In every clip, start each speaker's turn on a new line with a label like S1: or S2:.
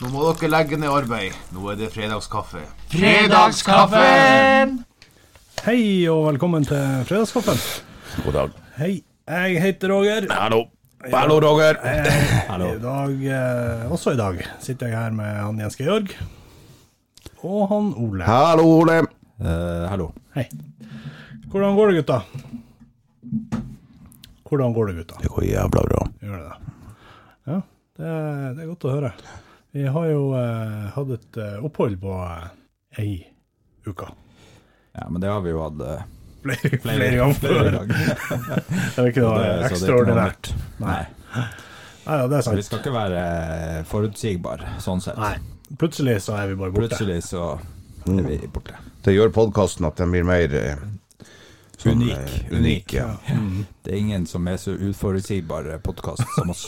S1: Nå må dere legge ned arbeid. Nå er det fredagskaffe.
S2: Fredagskaffen!
S3: Hei og velkommen til Fredagskaffen.
S4: God dag.
S3: Hei, jeg heter Roger.
S4: Hallo. Hallo, Roger.
S3: I dag, eh, også i dag sitter jeg her med han Jens Georg og han Ole.
S4: Hallo, Ole.
S2: hallo.
S3: Hei. Hvordan går det, gutta? Hvordan går det, gutta?
S4: Det går jævla bra.
S3: Gjør det det? Ja, det, det er godt å høre. Vi har jo eh, hatt et eh, opphold på eh, ei uke.
S2: Ja, men det har vi jo hatt eh,
S3: Flere, flere,
S2: flere,
S3: ganger
S2: flere
S3: før.
S2: ganger.
S3: Det er ikke
S2: Så
S3: noe
S2: det- så det er ikke noe
S3: ekstraordinært.
S2: nytt.
S3: Nei.
S2: Nei.
S3: Nei, ja, det er
S2: Så vi
S3: sant.
S2: skal ikke være eh, forutsigbar sånn sett.
S3: Nei. Plutselig så er vi bare borte.
S2: Plutselig så er vi borte.
S4: Det gjør podkasten at den blir mer eh, sånn,
S2: Unik.
S4: eh,
S2: Unik.
S4: unik ja.
S2: Det er ingen som er så uforutsigbar podkast som oss.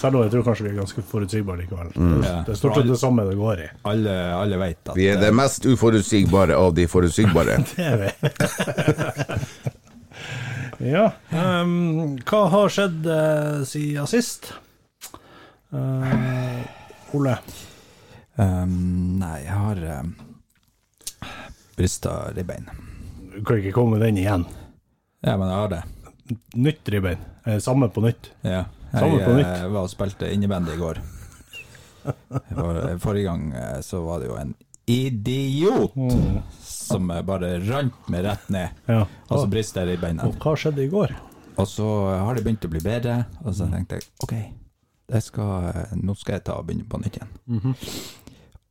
S3: Selv om jeg tror kanskje vi er ganske forutsigbare likevel.
S2: Ja.
S3: Det er stort sett det samme det går i.
S2: Alle, alle vet at
S4: Vi er det mest uforutsigbare av de forutsigbare.
S3: Det er vi. ja. ehm, hva har skjedd eh, siden sist? Eh, Ole.
S2: Ehm, Nei, jeg har eh, um, brista ribbein.
S3: Du kan ikke komme med den igjen.
S2: Ja, men jeg har det.
S3: Nytt ribbein. Eh, samme på nytt.
S2: Ja.
S3: Samme
S2: Jeg
S3: på nytt.
S2: eh, var og spilte innebandy i går. Jeg var- Forrige gang eh, så var det jo en idiot som eh, bare rant meg rett ned.
S3: Ja.
S2: Og så brister det i beina.
S3: Og hva skjedde i går?
S2: Og så har det begynt å bli bedre, og så tenkte jeg OK, jeg skal, nå skal jeg ta og begynne på nytt igjen.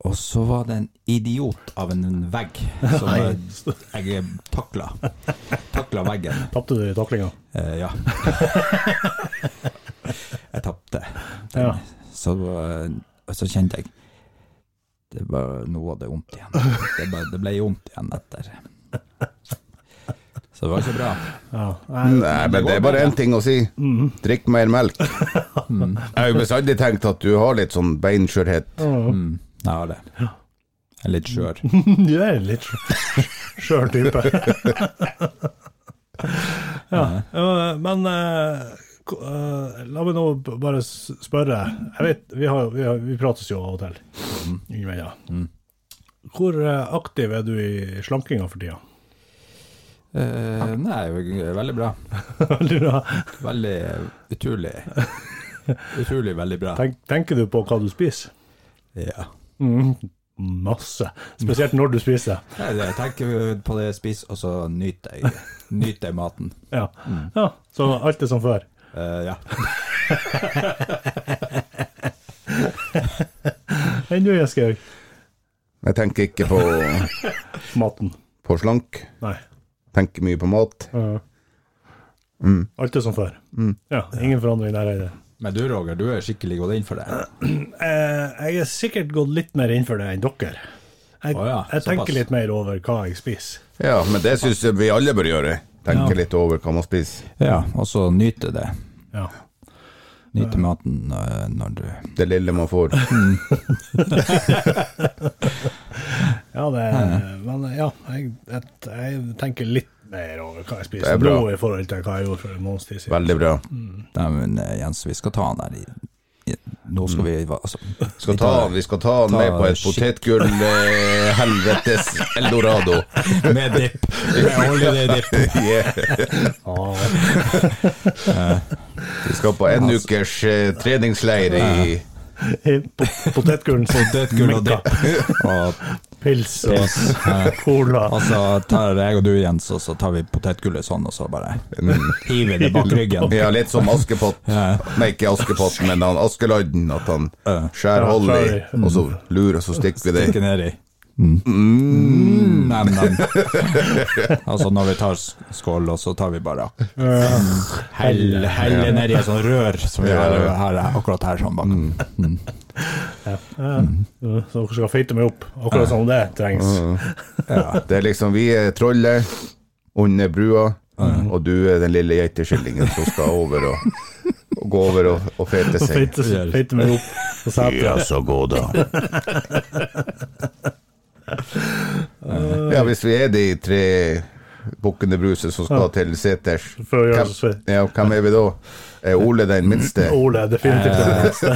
S2: Og så var det en idiot av en vegg som jeg, jeg takla. Takla veggen.
S3: Tapte du i taklinga?
S2: Eh, ja. jeg tapte.
S3: Ja.
S2: Så, eh, så kjente jeg det var, Nå var det vondt igjen. Det, ble, det ble vondt igjen etter. Så det var ikke bra.
S3: ja. Nei,
S4: Mm, Nei, men det er bare én ting å si.
S2: Mm.
S4: Drikk mer melk. Jeg har jo bestandig tenkt at du har litt sånn beinskjørhet.
S2: Mm, jeg har det. Jeg er litt skjør.
S3: du er litt skjø- skjør type. ja, eh, men eh, ko- eh, la meg nå b- bare s- spørre. Jeg vet, vi, har, vi, har, vi prates jo av og til. innimellom. Hvor eh, aktiv er du i slankinga for tida?
S2: Eh, nei, jeg er veldig bra.
S3: Veldig bra.
S2: Veldig utrolig Utrolig veldig bra.
S3: Tenk, tenker du på hva du spiser?
S2: Ja.
S3: Masse. Spesielt når du spiser.
S2: Nei, Jeg tenker på det jeg spiser, og så nyter jeg, nyter jeg maten.
S3: Ja. ja. Så alt er som før.
S2: Eh, ja.
S3: Enn du, Jeskau?
S4: Jeg tenker ikke på,
S3: Maten.
S4: på slank.
S3: Nei.
S4: Tenker mye på mat.
S3: Ja.
S4: Mm.
S3: Alt er som før. Ja, ingen forandring der er det.
S2: Men du Roger, du er skikkelig gått inn for det.
S3: Eh, jeg er sikkert gått litt mer inn for det enn dere. Jeg,
S2: Å ja,
S3: jeg
S2: såpass.
S3: tenker litt mer over hva jeg spiser.
S4: Ja, men det syns jeg vi alle bør gjøre. Tenke litt over hva man spiser.
S2: Ja, og så nyte det.
S3: Ja.
S2: Nyte maten eh, når du
S4: Det lille man får.
S3: ja, det Men ja, jeg, jeg, jeg tenker litt mer over hva jeg
S4: Det er
S3: spiser
S4: bra.
S3: nå i forhold til hva jeg gjorde for en måneds tid siden.
S4: Veldig bra.
S2: Nei, men eh, Jens, vi skal ta han der i, i Nå skal vi hva, altså,
S4: Skal
S2: vi
S4: ta
S2: tar-
S4: han, Mm. vi skal ta han med på et
S2: shit.
S4: potetgull eh, helvetes eldorado.
S2: Med dipp. Med holiday dip.
S4: Yeah.
S3: Ah,
S4: Vi skal på en ukers eh, treningsleir i
S3: po- Potetgull,
S2: Potetgull og dipp. Og
S3: pils og
S2: pils. Eh,
S3: cola.
S2: Og så tar jeg og du, Jens, og så tar vi potetgullet sånn, og så bare hiver vi det bak ryggen.
S4: Ja, litt som Askepott.
S2: Ja.
S4: Nei, ikke Askepott, men han Askeladden. At han skjærer
S3: Ja,
S4: hold i,
S3: skjærer i. Mm.
S4: og så lurer, så stikker vi det.
S2: Stikke nedi. Mm. Nam, nam. Altså når vi tar s- skål, og så tar vi bare Hell, hell nedi et sånt rør som vi har her, akkurat her sånn bak.
S4: Mm.
S3: Ja. Så dere skal feite meg opp, akkurat som det trengs.
S4: Det er liksom vi er trollet under brua, og du er den lille geiteskillingen som skal over og, og gå over og, og fete seg.
S3: Feite, feite meg opp på setet.
S4: så god, da. Ja, hvis vi er de tre Bukkene Bruse som skal til seters.
S3: For å gjøre
S4: Hvem-
S3: oss fri.
S4: ja, hvem er vi da? Er Ole den minste?
S3: Ole er definitivt den beste.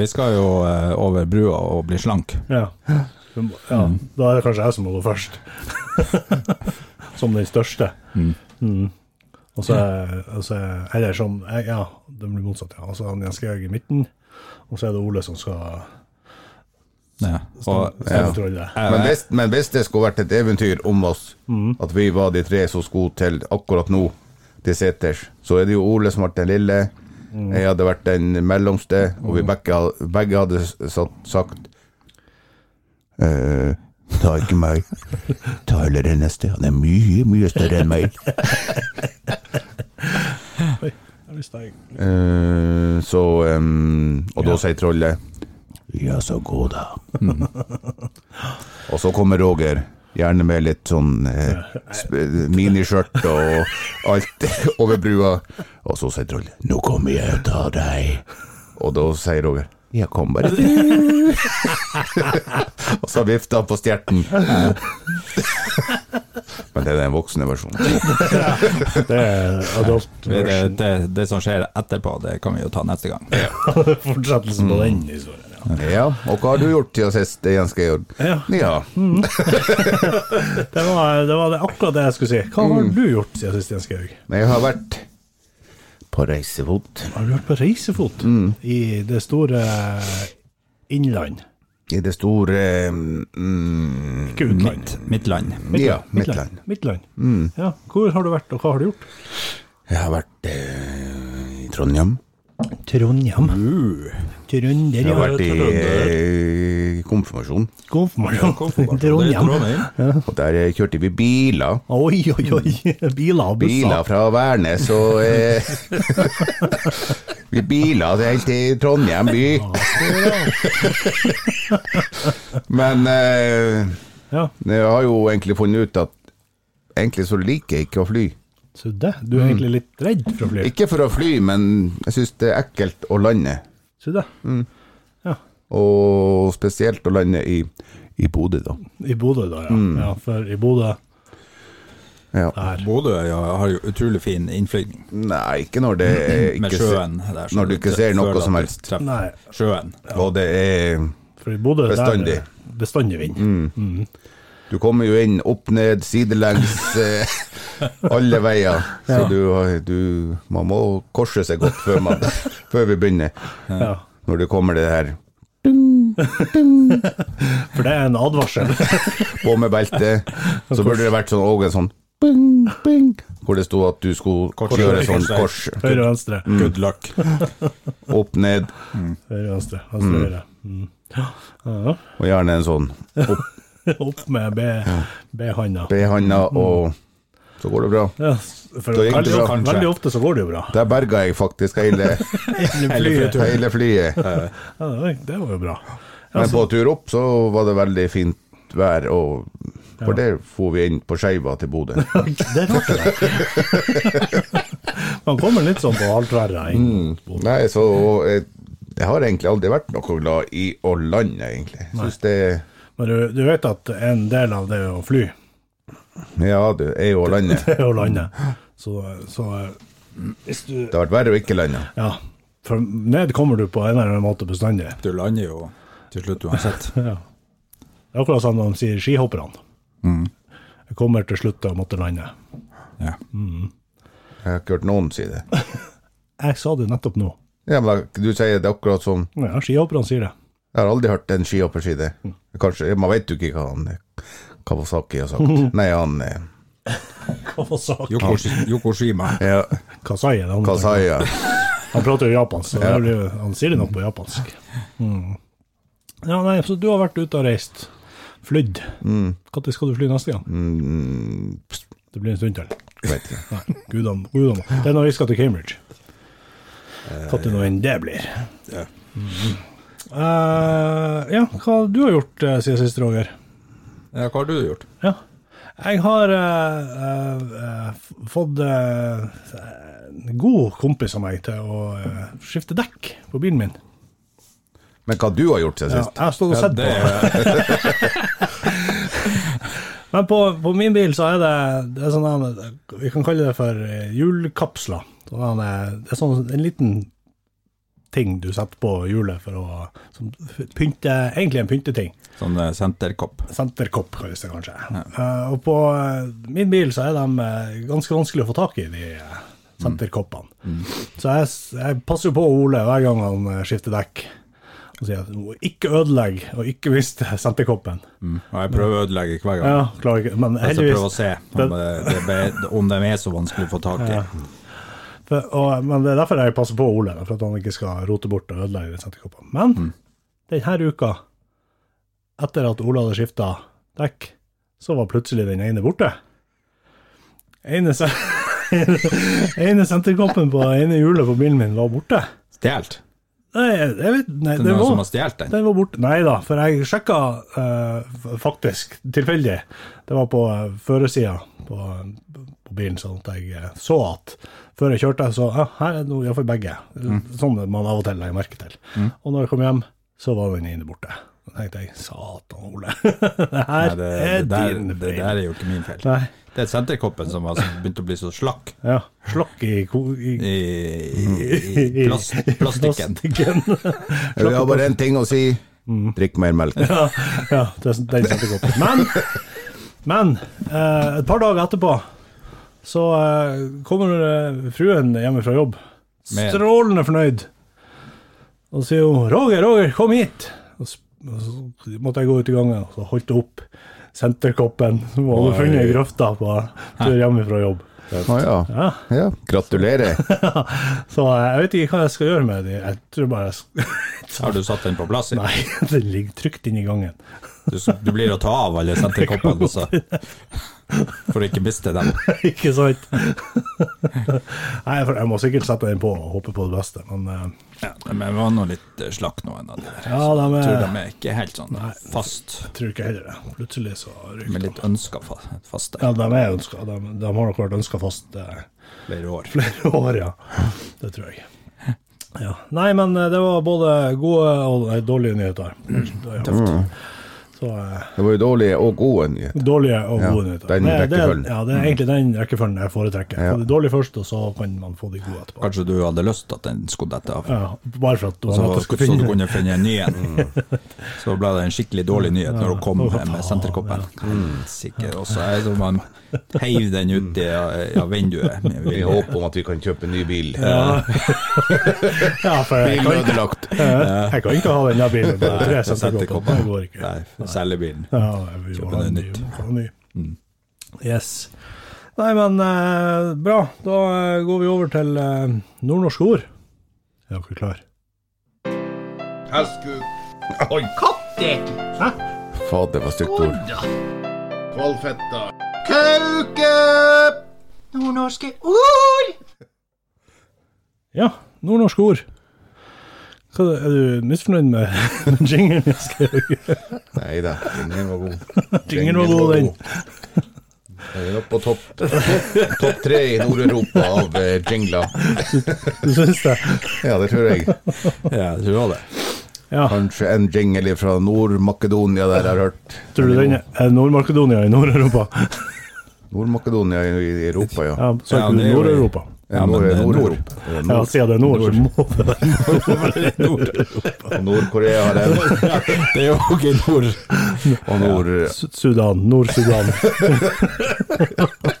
S2: Vi skal jo eh, over brua og bli slank.
S3: Ja. ja.
S2: Mm.
S3: Da er det kanskje jeg som må gå først. som den største. Mm. Og så er- og så er- Eller som Ja, det blir motsatt, ja. Og så er han Jens Georg i midten, og så er det Ole som skal
S2: Ja. Og,
S3: stemme trollet.
S4: Men hvis, men hvis det skulle vært et eventyr om oss,
S3: Mm.
S4: at vi var de tre som skulle til akkurat nå, til seters, så er det jo Ole som ble den lille,
S3: Mm.
S4: jeg hadde vært den mellomste, og vi begge, begge hadde s- satt, sagt eh, Ta ikke meg. Ta heller den neste. Han er mye, mye større enn meg.
S3: Oi, jeg mistet jeg.
S4: Eh, så em, Og da sier trollet Ja, så gå, da. og så kommer Roger, gjerne med litt sånn eh, sp- miniskjørt og alt over brua. Og så sier trollet 'Nå kommer jeg og tar deg'. Og da sier Roger 'Jeg kom bare'. og så vifter han på stjerten. Men det er den voksne versjonen.
S3: Det er adult
S2: det, det,
S3: version.
S2: det, det som skjer etterpå, det kan vi jo ta neste gang.
S3: Fortsettelsen på
S2: Mm.
S3: den historien. Ja.
S4: Ja, og hva har du gjort siden sist, Jens Georg?
S3: Ja.
S4: ja.
S3: Det, var, det var det- akkurat det jeg skulle si. Hva
S2: Mm.
S3: har du gjort siden sist, Jens Georg?
S4: Men jeg har vært på reisefot
S3: Har du vært på reisefot
S2: Mm.
S3: i det store innland?
S4: i det store mm,
S3: Ikke utland.
S2: Mitt, mitt land.
S4: Ja, Midtland. Mm.
S3: Midtland. Ja, hvor har du vært, og hva har du gjort?
S4: Jeg har vært eh, i Trondheim.
S3: Trondheim. Trønder,
S4: Jeg har vært i
S3: Trønder.
S4: eh, konfirmasjon.
S3: Konfirmasjon.
S2: Det er
S3: Trondheim.
S2: Trondheim.
S4: Og der eh, kjørte vi biler.
S3: Oi, oi, oi.
S4: Mm.
S3: Biler og
S4: Biler
S3: busser.
S4: fra Værnes og eh, Vi biler til- helt til Trondheim by. Men eh,
S3: Ja,
S4: jeg har jo egentlig funnet ut at egentlig så liker jeg ikke å fly.
S3: så det. Du er egentlig litt redd for å fly.
S4: Ikke for å fly, men jeg syns det er ekkelt å lande.
S3: Så det.
S4: Mm.
S3: Ja.
S4: Og spesielt å lande i, i Bodø, da.
S3: I Bodø, da, ja.
S4: Mm.
S3: ja. For i Bodø
S4: Ja.
S3: der.
S2: Bodø ja, har jo utrolig fin innflygning.
S4: Nei, ikke når det er
S2: Med
S4: ikke
S2: sjøen
S4: se-
S2: der. så
S4: Når du ikke ser
S2: føler
S4: noe
S2: at
S4: som
S2: du
S4: helst.
S2: treffer
S3: Nei,
S2: Sjøen.
S4: Og det er
S3: for i Bodø der er det
S4: Bestandig. Mm.
S3: Bestandig vind.
S4: Du kommer jo inn opp ned, sidelengs, eh, alle veier. Så du, har- du Man må korse seg godt før, man, før vi begynner.
S3: Ja.
S4: Når det kommer det her
S3: For det er en advarsel.
S4: bommebelte, så burde det vært sånn og en sånn bing, bing, hvor det sto at du skulle kjøre sånn kors.
S3: Høyre og venstre.
S4: Mm.
S2: Good luck.
S4: Opp ned.
S3: Høyre og venstre. Venstre og høyre. Mm. Ja.
S4: Og gjerne en sånn
S3: Opp med B- B-handa.
S4: B-handa, og så går det bra.
S3: Ja, for
S4: Da gikk det
S3: veldig,
S4: bra,
S3: ofte,
S2: kanskje.
S3: veldig ofte så går det jo bra.
S4: Der berga jeg faktisk hele,
S3: Flyet.
S4: hele flyet.
S3: Ja, det var- det var jo bra.
S4: Men på tur opp så var det veldig fint vær, og for der for vi inn på Skeiva til Bodø.
S3: Det er rart det der. Man kommer litt sånn på halvtverra inn.
S4: Nei, så jeg, jeg har egentlig aldri vært noe glad i å lande, egentlig. Syns det
S3: Men du, du vet at en del av det å fly,
S4: Ja, du er jo å lande.
S3: det er å lande. Så, så hvis du
S4: Det har vært verre å ikke lande.
S3: Ja. For ned kommer du på en eller annen måte bestandig.
S2: Du lander jo til slutt uansett.
S3: Ja. Det er akkurat som de sier skihopperne. Mm. Jeg kommer til slutt til å måtte lande.
S2: Ja.
S4: Jeg har ikke hørt noen si det.
S3: Jeg sa det nettopp nå.
S4: Ja, men da- Du sier det akkurat som
S3: Ja, skihopperne sier det.
S4: Jeg har aldri hørt en skihopper si det. Kanskje, Man vet jo ikke hva han eh, Kawasaki har sagt. Nei, han eh,
S3: Kawasaki.
S2: Yokoshi- Yokoshima.
S4: ja,
S3: Kasai er det han heter.
S4: Kasai, ja.
S3: Han prater jo japansk, så det blir, jo- han sier det nok på japansk. Mm. Ja, nei, Så du har vært ute og reist. Flydd. Når skal du fly neste gang?
S4: Mm,
S3: Det blir en stund til.
S4: vet ikke.
S3: Nei, gudene, gudene. Det er når vi skal til Cambridge. Når nå enn det blir. Mm.
S2: Ja.
S3: Eh, ja, hva har du har gjort eh, siden sist, Roger?
S2: Ja, hva har du gjort?
S3: Ja. Jeg har eh, eh, f- fått eh, en god kompis av meg til å eh, skifte dekk på bilen min.
S4: Men hva du har gjort siden
S3: Ja,
S4: sist?
S3: jeg har stått og sett
S2: det
S3: på.
S2: er
S3: Men på, på min bil så er det, det er sånn her- Vi kan kalle det for eh, hjulkapsler. Sånn her, Det er sånn en liten ting du setter på hjulet for å som pynte Egentlig en pynteting.
S2: Sånn eh, senterkopp.
S3: Senterkopp, kalles det kanskje. Eh, og på eh, min bil så er de eh, ganske vanskelig å få tak i, de eh, senterkoppene. Så jeg, s- jeg passer jo på Ole hver gang han eh, skifter dekk. Og sier at "Nå, ikke ødelegg, og ikke miste senterkoppen.
S2: Mm. Og jeg prøver å ødelegge hver gang.
S3: Ja, klarer ikke, men
S2: Altså prøve å
S3: heldigvis
S2: se om, eh, det, be- om de er så vanskelig å få tak i.
S3: for, og, Men det er derfor jeg passer på Ole, for at han ikke skal rote bort og ødelegge de senterkoppene. Men
S2: Mm.
S3: denne uka, etter at Ole hadde skifta dekk, så var plutselig den ene borte. Ene, se- ene senterkoppen på ene hjulet på bilen min var borte.
S2: Stjålet?
S3: Nei, jeg vet, nei
S2: Det er
S3: det
S2: noen
S3: var
S2: som har stjålet den?
S3: Den var borte. Nei da, for jeg sjekka eh, f- faktisk tilfeldig. Det var på uh, førersida på, på bilen, sånn at jeg eh, så at før jeg kjørte, så ja, her er det noe iallfall begge.
S2: Mm.
S3: Sånn man av og til legger merke til. Og når jeg kom hjem, så var den ene borte. Da tenkte jeg satan, Ole. det
S2: Nei,
S3: her
S2: det,
S3: er
S2: det, der,
S3: din
S2: det
S3: feil.
S2: der er jo ikke min feil.
S3: Nei.
S2: Det er senterkoppen som har begynt å bli så slakk
S3: Ja, slokk i, ko- i,
S2: i, i, i plast,
S3: Mm. i
S2: plastikken.
S3: plastikken.
S4: Vi har bare én ting å si. Drikk mer melk.
S3: ja, ja det, den setter jeg opp. Men, men eh, et par dager etterpå så eh, kommer eh, fruen hjemme fra jobb.
S2: Med-
S3: Strålende fornøyd. Og sier hun 'Roger, Roger, kom hit'. Og s- og så måtte jeg gå ut i gangen, og så holdt hun opp senterkoppen som hun hadde
S2: Oi.
S3: funnet i grøfta på tur hjemme fra jobb.
S4: Å ja.
S3: Ja.
S4: ja. Gratulerer.
S3: Så eh, jeg vet ikke hva jeg skal gjøre med de. Jeg tror bare jeg skal
S2: Har du satt den på plass?
S3: Nei, den ligger trygt inni gangen.
S2: Du, du blir å ta av alle senterkoppene, så. For å ikke miste dem.
S3: Ikke sant? Nei, for jeg må sikkert sette den på og håpe på det beste, men eh,
S2: Ja, men jeg var nå litt eh, slakk nå, en av de der.
S3: ja, eh, de
S2: Jeg tror
S3: er,
S2: de er ikke helt sånn fast,
S3: jeg tror ikke heller det. Plutselig så ryker
S2: men
S3: de.
S2: litt ønska faste
S3: Ja, de er ønska. De, de har nok vært ønska fast eh,
S2: flere år.
S3: flere år, ja. Det tror jeg. Ja. Nei, men eh, det var både gode og nei, dårlige nyheter. Det
S4: Mm.
S3: er Tøft. Så eh,
S4: Det var jo dårlige og gode nyheter.
S3: dårlige og
S4: Ja,
S3: gode nyheter.
S4: den
S3: Det er- det er-
S4: rekkefølgen.
S3: Ja, det er egentlig den rekkefølgen jeg foretrekker.
S4: Ja.
S3: Få de dårlige først, og så kan man få de gode etterpå.
S2: Kanskje du hadde lyst til at den skulle dette av?
S3: Ja, bare for at du,
S2: Så,
S3: at jeg
S2: så
S3: skulle
S2: du
S3: finne
S2: kunne finne en ny en. Så ble det en skikkelig dårlig nyhet når hun kom med, med senterkoppen. Sikkert også jeg som man heiv den ut i av vinduet. med
S4: Vi
S2: vilje.
S4: håper om at vi kan kjøpe en ny bil.
S3: Ja, for jeg
S4: Bilen
S3: kan
S4: er ødelagt.
S3: Jeg kan ikke ha den der bilen med tre senterkopper. Det går ikke.
S2: Nei, selgebilen.
S3: Ja, jeg vil jo
S2: Kjøpe
S3: ha
S2: noe
S3: en ny.
S2: nytt.
S3: jeg
S2: Mm.
S3: må ha en ny. Yes. Nei, men eh, bra. Da eh, går vi over til eh, nordnorske ord. Er dere klare?
S1: Hestkuk.
S4: Oi,
S1: Kattek.
S4: fader, det var stygt ord.
S1: Kvalfetta. Kauke. Nordnorske ord.
S3: Ja, nordnorske ord. Hva, er du misfornøyd med jingelen jeg skrev?
S4: Nei da, ingen var god.
S3: Ingen var god, den.
S4: Den er oppe på topp topp- topp tre i Nord-Europa av eh, jingler.
S3: Du syns det?
S4: Ja, det tror jeg.
S2: Ja, jeg tror det.
S3: Ja.
S4: Kanskje en jingle fra Nord-Makedonia der jeg har hørt.
S3: Tror du den er Nord-Makedonia i Nord-Europa?
S4: Nord-Makedonia i i Europa, ja.
S3: Ja, så
S2: Ja,
S3: er ikke
S2: det er
S3: du
S2: jo-
S3: Nord-Europa.
S2: Ja, men
S4: Nord-
S2: det er nord.
S4: Nord-Europa.
S3: Ja,
S4: Nord-
S3: siden det er nord, så må det være
S4: Nord-Korea har en,
S2: Det er jo ikke nord.
S4: og nord...
S3: Sud- Sudan, Nord-Sudan.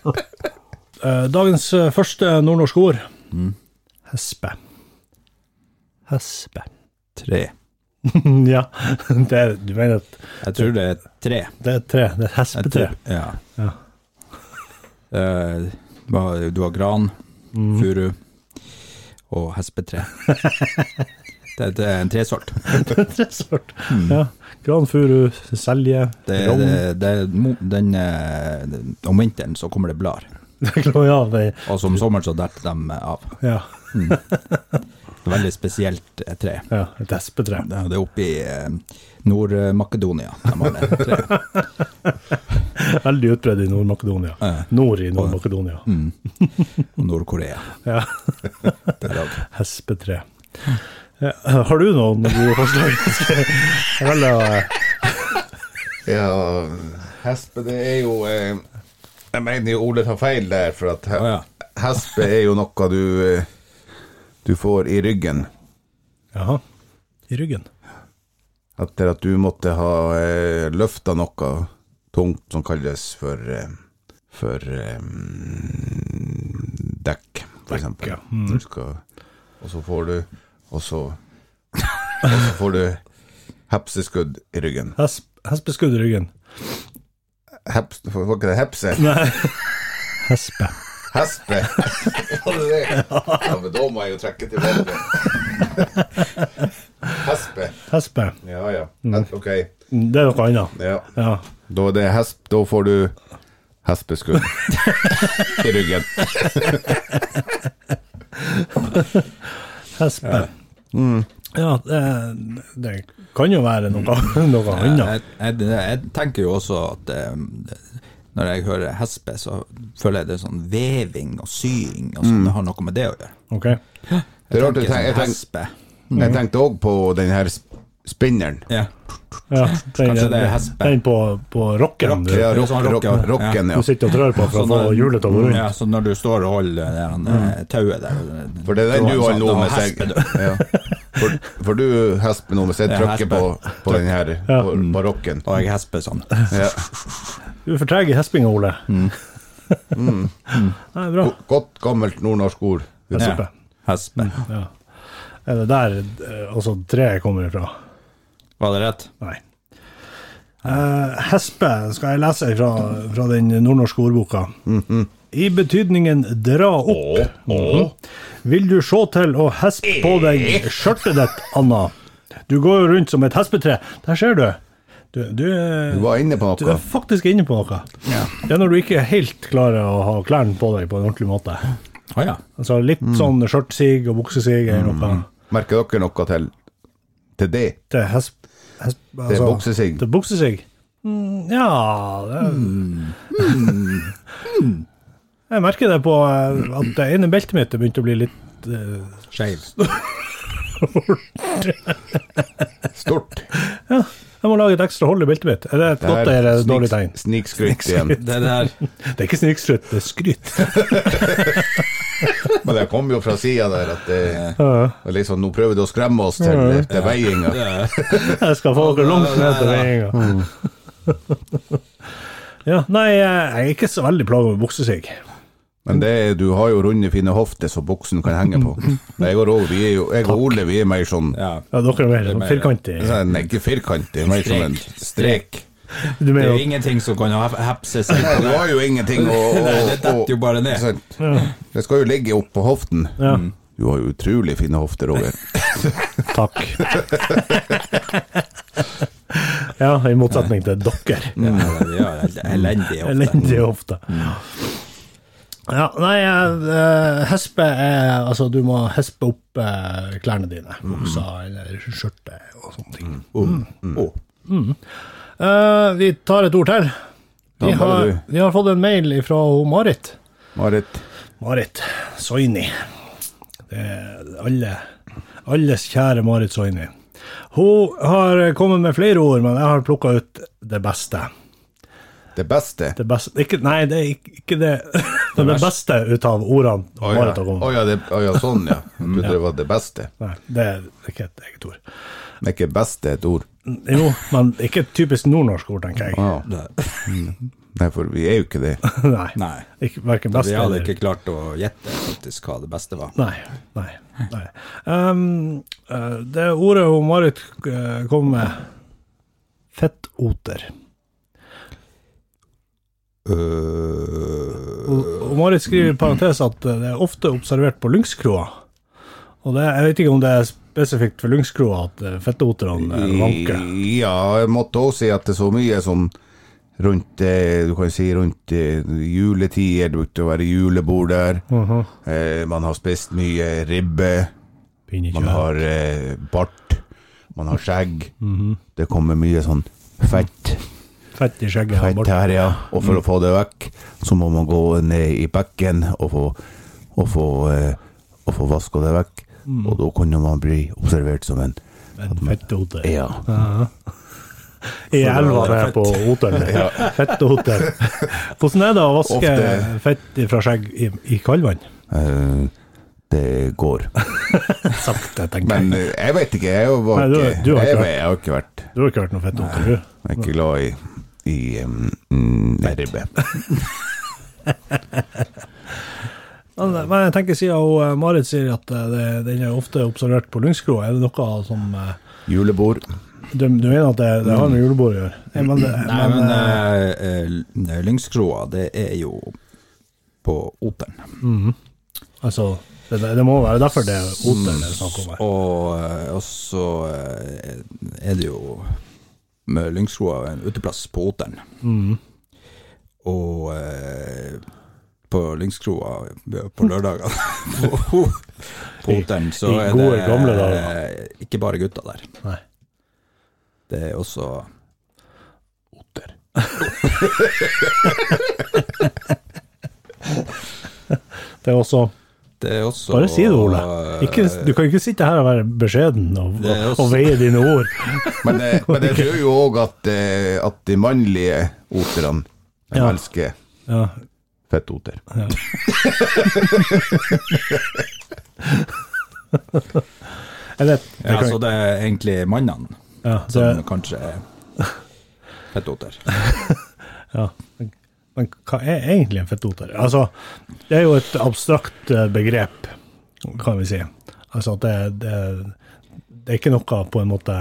S3: Eh, Dagens eh, første nordnorske ord.
S2: Mm.
S3: Hespe. Hespe.
S2: Tre.
S3: ja, det er, du mener at
S2: Jeg tror det er tre.
S3: det er et tre? Det er et
S2: Jeg
S3: hespetre.
S2: tror- Ja.
S3: Ja.
S2: Eh, du har- du har gran,
S3: Mm.
S2: furu og hespetre. det, det er en tresort.
S3: Tresort. Ja. Gran furu, selje,
S2: Mm. Det, er-
S3: rogn.
S2: det, det, er mo- den, eh, om vinteren så kommer det blar,
S3: Det er klart, ja, det-
S2: og som sommeren så detter de av.
S3: ja,
S2: Veldig spesielt eh, tre.
S3: ja, et hespetre.
S2: Det det er oppe i eh, Nord-Makedonia. De har det treet.
S3: Veldig utbredt i Nord-Makedonia.
S2: Ja. Mm.
S3: Nord i Nord-Makedonia.
S2: Og Nord-Korea.
S3: Ja.
S2: Det er lag.
S3: Hespetre. Ja, har du noen gode forslag? Jeg velger å-
S4: Ja, Hespe, det er jo eh, Jeg mener jo Ole tar feil der, for at he,
S2: Å, ja.
S4: hespe er jo noe du eh, Du får i ryggen.
S3: Jaha. I ryggen.
S4: Etter at du måtte ha eh, løfta noe tungt som kalles for eh, For eh, dekk, for eksempel.
S3: ja.
S4: Du skal, og så får du Og så Og så får du hepseskudd i ryggen.
S3: Hesp, hespeskudd i ryggen.
S4: Heps, var ikke det hepse?
S3: Hespe.
S4: Hespe. Var det det? Ja, men da må jeg jo trekke tilbake. Hespe.
S3: Hespe.
S4: Ja, ja. Ok.
S3: Det er noe annet.
S4: Ja.
S3: Ja.
S4: Da er det hesp. Da får du hespeskudd i ryggen.
S3: Hespe.
S2: Mm.
S3: Ja, det, det kan jo være noe, noe annet.
S2: Mm. Jeg, jeg, jeg tenker jo også at eh, når jeg hører hespe, så føler jeg det er sånn veving og sying, og sånn, det har noe med det å gjøre.
S3: Ok.
S4: Det er rart, jeg,
S2: Tenker
S4: tenk, jeg,
S2: sånn
S4: tenk,
S2: hespe. Mm.
S4: jeg tenkte òg på den her sp- spinneren.
S2: Ja.
S3: Ja, den,
S2: Kanskje det er
S3: den-
S2: hespe.
S3: Den på, på rocken du,
S4: Ja,
S2: Det er
S4: rock,
S2: sånn
S4: rock,
S2: rocker, ja.
S4: rocken, ja.
S3: du sitter og trør på for
S2: Så
S3: å få
S2: Sånn når-
S3: hjulet til å gå
S2: Mm, Ja,
S3: rundt.
S2: så når du står og holder det der, eh, tauet der
S4: For det er den du holder nå med seg.
S2: hespe, du.
S4: Ja. For, for du hesper nå med seg
S2: Ja,
S4: trykker på, på den her, på, på rocken.
S2: Og jeg hesper sånn.
S4: Ja.
S3: Du er for treg i hespinga, Ole.
S2: Mm.
S3: Nei, bra.
S4: Godt, gammelt nordnorsk ord.
S3: Hespe.
S2: Hespe.
S3: Ja. Er det der eh, altså treet kommer ifra?
S2: Var det rett?
S3: Nei. Eh, hespe skal jeg lese fra, fra den nordnorske ordboka.
S4: Mhm.
S3: I betydningen dra opp. Mhm. Vil du sjå til å hespe på
S4: Eh.
S3: deg skjørtet ditt, Anna? Du går jo rundt som et hespetre. Der ser du. Du, du, er-
S4: Du var inne på
S3: du er
S4: noe.
S3: faktisk inne på noe. Det er når du ikke helt klarer å ha klærne på deg på en ordentlig måte.
S2: Å ja.
S3: Altså litt
S4: Mm.
S3: sånn skjørtsig og buksesig er noe.
S4: Merker dere noe til, til det?
S3: Til hesp... hesp altså,
S4: Til buksesigg?
S3: Til buksesigg? Mm, ja det er... mm, Jeg merker det på eh, at det ene beltet mitt begynte å bli litt eh,
S2: Skeiv.
S4: Stort.
S3: Jeg må lage et ekstra hold i beltet mitt. Er det et godt
S4: Der,
S3: eller et dårlig
S4: snik-
S3: tegn?
S4: Snikskryt igjen.
S2: Det der
S3: Det er ikke snikskryt, det er skryt.
S4: Men det kom jo fra sida der at det, det liksom, nå prøver du å skremme oss til, til veiinga.
S3: Jeg skal få dere langt ned til veien. Ja, nei, eh, jeg er ikke så veldig plaga med buksesigg.
S4: Men det, er- du har jo runde, fine hofter så buksen kan henge på. Men Jeg og Rov, vi er jo, jeg og Ole vi er mer sånn
S2: Ja.
S3: Ja, dere er mer sånn firkantige.
S4: sånn, Ikke firkantig, mer som en strek.
S3: Du
S2: Det er
S3: mener
S2: jo ingenting som kan hef- hepse seg
S4: Ja,
S2: på
S4: Du
S2: det.
S4: har jo ingenting å, å,
S2: Nei, det detter
S4: å-
S2: jo bare ned.
S4: sant? Det skal jo ligge opp på hoften.
S3: Ja.
S4: Du har jo utrolig fine hofter, Roger.
S3: Takk. ja, i motsetning til dere.
S2: Ja, det gjør det. Elendig ofte.
S3: Mm. Elendig ofte.
S4: Mm.
S3: Ja, nei, eh, hespe er Altså, du må hespe opp eh, klærne dine.
S4: Mm.
S3: Buksa eller skjørtet og sånne ting. Mm.
S4: Mm.
S2: Å.
S3: Eh, vi tar et ord til. Vi
S4: Ja, bare
S3: har,
S4: du.
S3: vi har fått en mail fra Marit.
S4: Marit,
S3: Marit Soini. Det er alle, alles kjære Marit Soini. Hun har kommet med flere ord, men jeg har plukka ut det beste.
S4: det beste
S3: Det beste ikke, Nei, det er ikke- ikke det Det, det beste ut av ordene
S4: Å ja.
S3: Marit har kommet
S4: Å
S3: med.
S4: ja, det, å ja, sånn, ja. Jeg trodde det var det beste.
S3: Nei, det er ikke et eget ord.
S4: Men ikke beste et ord.
S3: Jo, men ikke et typisk nordnorsk ord, tenker jeg.
S4: Ja. Nei, for vi er jo ikke det.
S3: Nei.
S2: Nei.
S3: Ikke, verken beste
S2: Vi hadde
S3: eller
S2: ikke klart å gjette faktisk hva det beste var.
S3: Nei. nei, nei. Ehm, eh, det ordet hun Marit eh, kom med, fettoter.
S2: Øh,
S3: Og, og Marit skriver i parentes at eh, det er ofte observert på lyngskroa. Og det, jeg vet ikke om det er spesifikt for lyngskroa at eh, fettoterne eh, vanker.
S4: Ja, jeg måtte også si at det er så mye som rundt eh, Du kan si rundt eh, juletider, det brukte å være julebord der. eh, man har spist mye ribbe. Man har eh, bart. Man har skjegg. Det kommer mye sånn fett.
S3: Fett i skjegget. og bart.
S4: fett her, ja. Og for å få det vekk, så må man gå ned i bekken og få, og få, eh, og få vaska det vekk. Og da kunne man bli observert som en
S3: En fettoter.
S4: Ja.
S3: i elva der på Oteren. Fetteoteren. Hvordan er det å vaske
S4: Ofte.
S3: fett fra skjegg i, i kaldvann?
S4: Eh, det går.
S3: Sakte, tenker jeg.
S4: Men eh, jeg vet ikke. Jeg var
S3: Nei, du-
S4: ikke,
S3: du har ikke
S4: jeg,
S3: vært.
S4: vet- jeg har ikke vært
S3: Du har ikke hørt noe fetteoter, du?
S4: Jeg er ikke glad i, i um, mm, ribbe.
S3: Men, men jeg tenker siden hun, eh, Marit sier at eh, det, den er ofte observert på Lyngskroa, er det noe som eh,
S4: Julebord.
S3: du, du mener at det, det har med julebord å gjøre? Nei, men, det-
S2: Nei, men
S3: men, eh,
S2: eh, eh, lyngskroa, det er jo på Oteren.
S3: altså, det, det må være derfor det er oter det er snakk om her.
S2: Og, eh, og så eh, er det jo med Lyngskroa en uteplass på Oteren.
S3: Mm.
S2: Og eh, på Lyngskroa ja, på lørdager på, på Oteren, så
S3: I- i
S2: er
S3: gode,
S2: det
S3: gamle
S2: eh, ikke bare gutter der.
S3: Nei.
S2: Det er også
S4: Otter.
S3: Det er også
S2: Det er eh, også
S3: Bare si det, Ole. Ikke,
S2: Eh,
S3: du kan ikke sitte her og være beskjeden og,
S2: Det er
S3: og,
S2: også-
S3: og veie dine ord.
S4: Men, eh, men jeg tror jo òg at, eh, at de mannlige oterne de
S3: Ja.
S4: elsker
S3: Ja,
S4: fettoter.
S3: jeg vet.
S2: Ja,
S3: Jeg kan,
S2: så det er egentlig mannene
S3: ja,
S2: som
S3: det,
S2: kanskje er fettoter.
S3: ja. Men hva er egentlig en fettoter? Altså, det er jo et abstrakt eh, begrep, kan vi si. Altså at det, det, det er ikke noe på en måte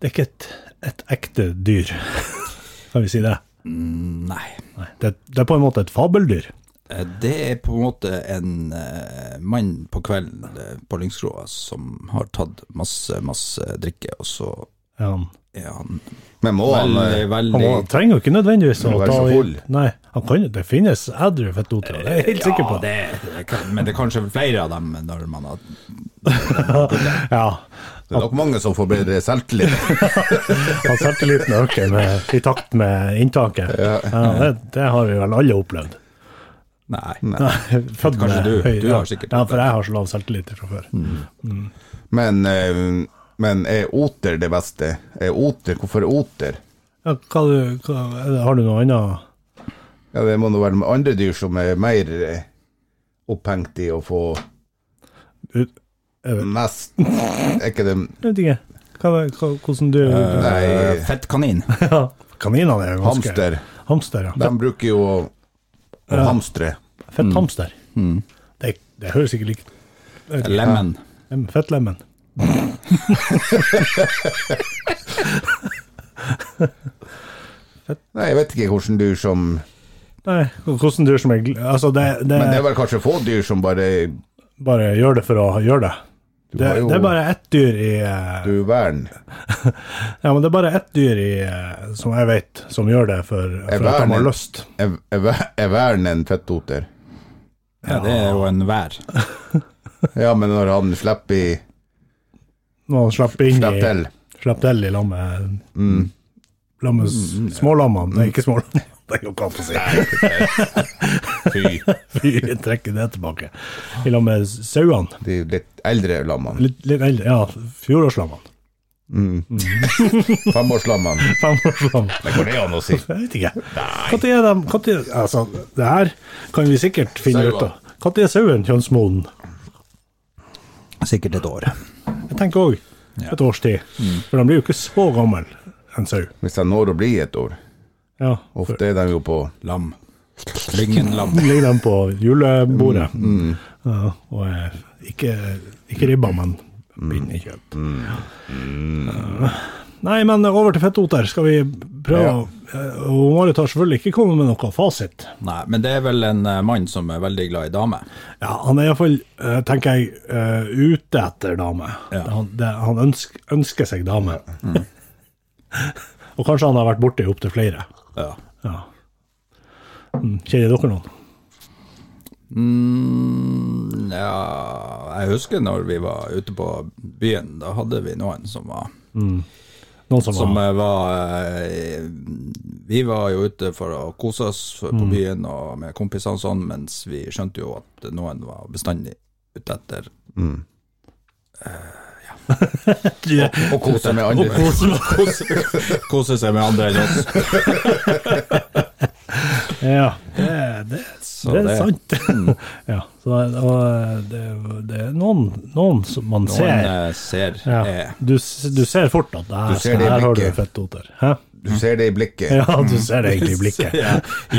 S3: Det er ikke et, et ekte dyr, kan vi si det.
S2: Nei.
S3: Nei, det. Det er på en måte et fabeldyr.
S2: Eh, Det er på en måte en eh, mann på kvelden eh, på Lyngskroa som har tatt masse, masse drikke, og så
S3: Ja, han
S2: er han
S4: Men må han eh,
S2: veldig,
S3: han
S2: veldig
S3: må, trenger jo ikke nødvendigvis å
S4: Må være
S3: ta
S4: så
S3: i
S4: full.
S3: Nei, han kan jo, det finnes edru fettotere, det er jeg helt sikker på.
S2: Ja, det, det kan, men det er kanskje flere av dem når man har
S3: Ja.
S4: Det er nok mange som får bedre selvtillit.
S3: At selvtilliten øker med, i takt med inntaket. Ja. det, det har vi vel alle opplevd.
S2: Nei.
S3: Født
S2: Kanskje
S3: med
S2: du.
S3: høy-
S2: Du har sikkert
S3: Ja,
S2: opplevd
S3: for jeg har så lav selvtillit fra før.
S4: Mm. Men, eh, men er oter det beste? Er oter, Hvorfor er oter?
S3: Ja, hva du, hva, er det- har du noe annet?
S4: Ja, Det må nå være med andre dyr som er mer eh, opphengt i å få
S3: ut-
S4: mest Er ikke det
S3: Jeg vet ikke. Hva, hva, hvordan du
S4: Nei,
S2: Eh, Fettkanin.
S3: ja. Kaninene er jo ganske
S4: hamster.
S3: Hamster, ja.
S4: De bruker jo å, å hamstre.
S3: Fett
S4: mm.
S3: hamster. Det, det høres ikke likt
S2: Lemen.
S3: Lem- Fettlemmen.
S4: Nei, jeg vet ikke hvordan dyr som
S3: Nei, hvordan dyr som er gl- Altså, det, det,
S4: Men det er vel kanskje få dyr som bare
S3: bare gjør det for å gjøre det.
S4: Du
S3: Det,
S4: har jo
S3: det er bare ett dyr i eh,
S4: Du vern.
S3: Ja, men det er bare ett dyr i, eh, som jeg vet, som gjør det for, for at
S4: verden-
S3: de har lyst.
S4: Er, er ver- er vern en fettoter?
S2: Ja, det er jo en vær.
S4: Ja, men når han slipper i
S3: Når han slipper inn
S4: Slipp til.
S3: i Slipp til i lammet med Lamme, Smålammene Nei, ikke smålammene. Det går ikke an å si.
S4: Fy.
S3: Fy, trekker det tilbake. I lag med sauene.
S4: De litt eldre lammene.
S3: Litt, litt eldre. Ja, fjorårslammene.
S4: Femårslammene.
S3: Femårslammene.
S4: Det går det an å si.
S3: Jeg vet ikke. Når er de hva tid- Altså, det her kan vi sikkert finne ut av. Når er sauen kjønnsmoden?
S2: Sikkert et år.
S3: Jeg tenker òg et års tid. For de blir jo ikke så gammel, en sau.
S4: Hvis de når å bli et år.
S3: Ja, for-
S4: Ofte er de jo på
S2: Lam. Lyngenlam.
S3: ligger de på julebordet. Ja, og eh, ikke, ikke ribba, men pinnekjøtt. mm, Ja. Nei, men over til fettoter. Skal vi prøve å eh, Og Marit har selvfølgelig ikke kommet med noe fasit.
S2: Nei, men det er vel en eh, mann som er veldig glad i damer.
S3: Ja, han er iallfall, tenker jeg, eh, ute etter dame.
S2: Ja.
S3: Han, det, han ønsker, ønsker seg dame. og kanskje han har vært borti opptil flere.
S2: Ja.
S3: Ja. Mm, Kjenner dere noen?
S2: Mm, ja Jeg husker når vi var ute på byen, da hadde vi noen som var
S3: Noen som,
S2: Som
S3: har
S2: eh, var eh, Vi var jo ute for å kose oss på byen og med kompisene og sånn, mens vi skjønte jo at noen var bestandig ute etter eh, ja,
S3: Ja.
S4: Og kose med andre.
S3: Og kose meg.
S2: Kose seg med andre enn oss.
S3: Ja, det, det, det er
S2: det-
S3: sant. ja, så, og det, det er noen, noen som man
S2: Noen
S3: ser.
S2: eh, ser
S3: Ja.
S2: eh,
S3: Du, s- du ser fort at det her,
S4: Du ser det i
S3: her har du
S4: blikket.
S3: fettoter. Hæ?
S4: Du ser det i blikket.
S3: Ja, du ser det egentlig i blikket.
S2: ja,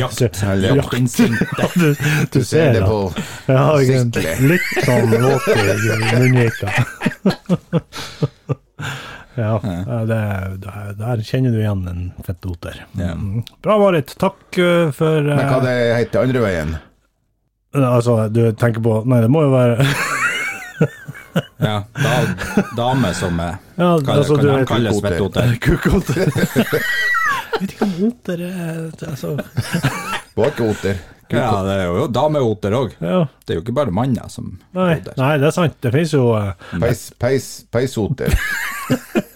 S2: jakt,
S4: Eller-
S2: jaktinstinktet.
S3: Du, du
S4: Du ser det
S3: at-
S4: på
S3: Jeg har ikke en
S4: Sikkert.
S3: litt sånn våt i munnvika. ja, det, det, der kjenner du igjen en fettoter.
S2: Ja.
S3: Mm. Bra, Marit. Takk eh, for eh,
S4: Men hva det heter andre veien?
S3: Altså, du tenker på Nei, det må jo være
S2: Ja, da, dame som er
S3: ja,
S2: Hva
S3: altså,
S2: kan
S3: du
S2: de
S3: vet-
S2: kalles vettoter?
S3: Kukoter. Jeg vet ikke om oter er altså,
S4: Bakeoter.
S2: Ja, det er jo dameoter òg.
S3: ja.
S2: Det er jo ikke bare manner som
S3: nei, nei, det er sant. Det finnes jo eh,
S4: Peis, peis, peisoter.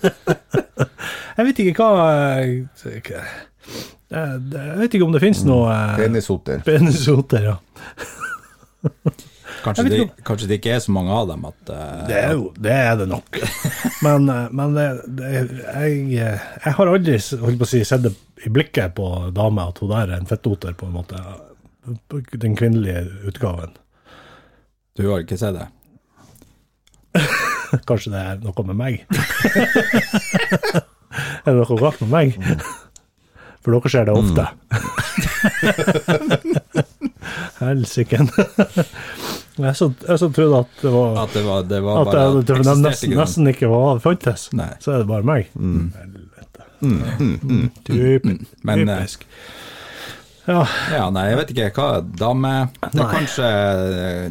S3: Jeg vet ikke hva eh, hva- Jeg jeg vet ikke om det finnes noe eh,
S4: Penisoter.
S3: Penisoter, ja. Jeg
S2: Kanskje,
S3: vet
S2: de,
S3: ikke
S2: kanskje det ikke er så mange av dem at eh,
S3: Det er jo det, er det nok. Men, eh, men det, det, jeg, eh, jeg har aldri s- holdt på å si, sett det i blikket på dame at hun der er en fettoter, på en måte. Den kvinnelige utgaven.
S2: Du har ikke sett det?
S3: Kanskje det er noe med meg? er det noe galt med meg? For dere ser det
S2: Mm.
S3: ofte. Helsike. jeg som jeg som trodde at det var
S2: At det var, det var
S3: At
S2: bare
S3: jeg, det,
S2: eksisterte
S3: nesten,
S2: ikke noen-
S3: nesten ikke var fantes.
S2: Nei. Mm.
S3: Så er det bare meg. Helvete. Typisk.
S2: Men, eh,
S3: Typisk. Ja,
S2: Ja, nei, jeg vet ikke hva dame Det er
S3: Nei.
S2: kanskje eh,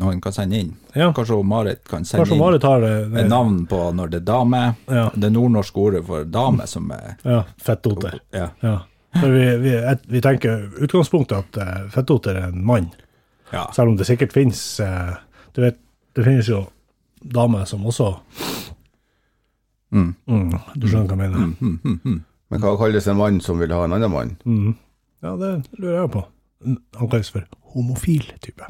S2: noen kan sende inn.
S3: Ja.
S2: Kanskje hun Marit kan sende
S3: kanskje Marit har det.
S2: inn et navn på når det er dame.
S3: Ja.
S2: Det nordnorske ordet for dame som er
S3: Ja, fettoter.
S2: Ja.
S3: Ja. For vi, vi, et, vi tenker utgangspunktet at eh, fettoter er en mann,
S2: ja.
S3: selv om det sikkert finnes eh, Du vet, det finnes jo damer som også Mm, Du skjønner hva jeg mener?
S4: Men hva kalles en mann som vil ha en annen mann?
S3: Mm. Ja, det lurer jeg på. Han kalles for homofil type.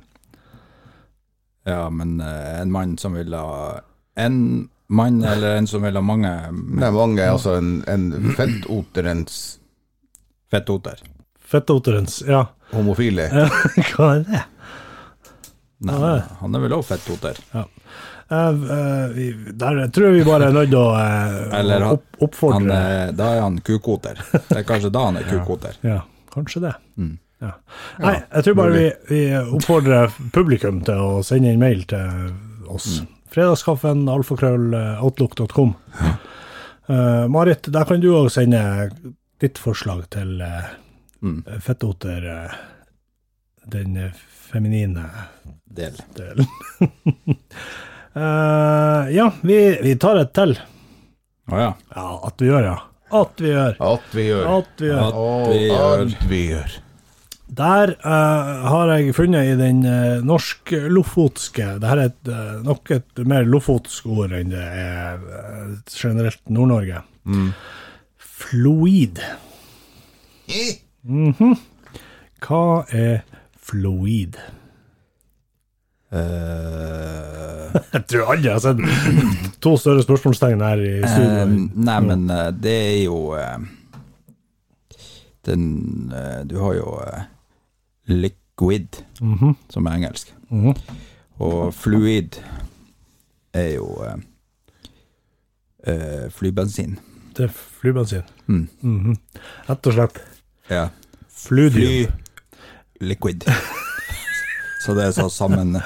S2: ja, men eh, en mann som vil ha En mann eller en som vil ha mange
S4: Nei, mange, altså en, en fettoterens
S2: fettoter.
S3: Fettoterens Ja,
S4: homofile.
S3: hva er det?
S2: Nei,
S3: Ja, det.
S2: han er vel òg fettoter.
S3: Eh, eh, vi- der tror jeg vi bare er nødt til å eh,
S2: Eller han-
S3: opp, oppfordre
S2: Han er, da er han kukoter. Det er kanskje da han er kukoter. Mm.
S3: Ja, kanskje det. Ja. Nei, jeg tror bare vi, vi oppfordrer publikum til å sende en mail til oss. Fredagskaffen, alfakrøll, eh, outlook.com. Eh, Marit, der kan du òg sende ditt forslag til uh,
S2: Mm.
S3: fettoter, eh, den eh, feminine
S2: Del.
S3: delen. Eh, ja, vi, vi tar et til.
S2: Å ja.
S3: Ja, at vi gjør, ja. At vi gjør.
S4: At vi gjør.
S3: At vi gjør.
S2: At vi
S4: Å,
S2: gjør.
S4: At vi gjør.
S3: Der eh, har jeg funnet i den eh, norsk-lofotske Dette er et, eh, nok et mer lofotsk ord enn det er eh, generelt Nord-Norge. Floid.
S2: Eh.
S3: Mhm. Hva er floid?
S2: Eh,
S3: Jeg tror alle har sett to større spørsmålstegn her i
S2: eh,
S3: studio.
S2: nei, men eh, det er jo eh, Den eh, Du har jo eh, liquid, som er engelsk. Og fluid er jo eh, eh, flybensin.
S3: Det er flybensin.
S2: Mm.
S3: Mhm. Rett og slett
S2: Ja.
S3: fludium.
S2: Fly liquid. Så det er så sammen
S3: Ja,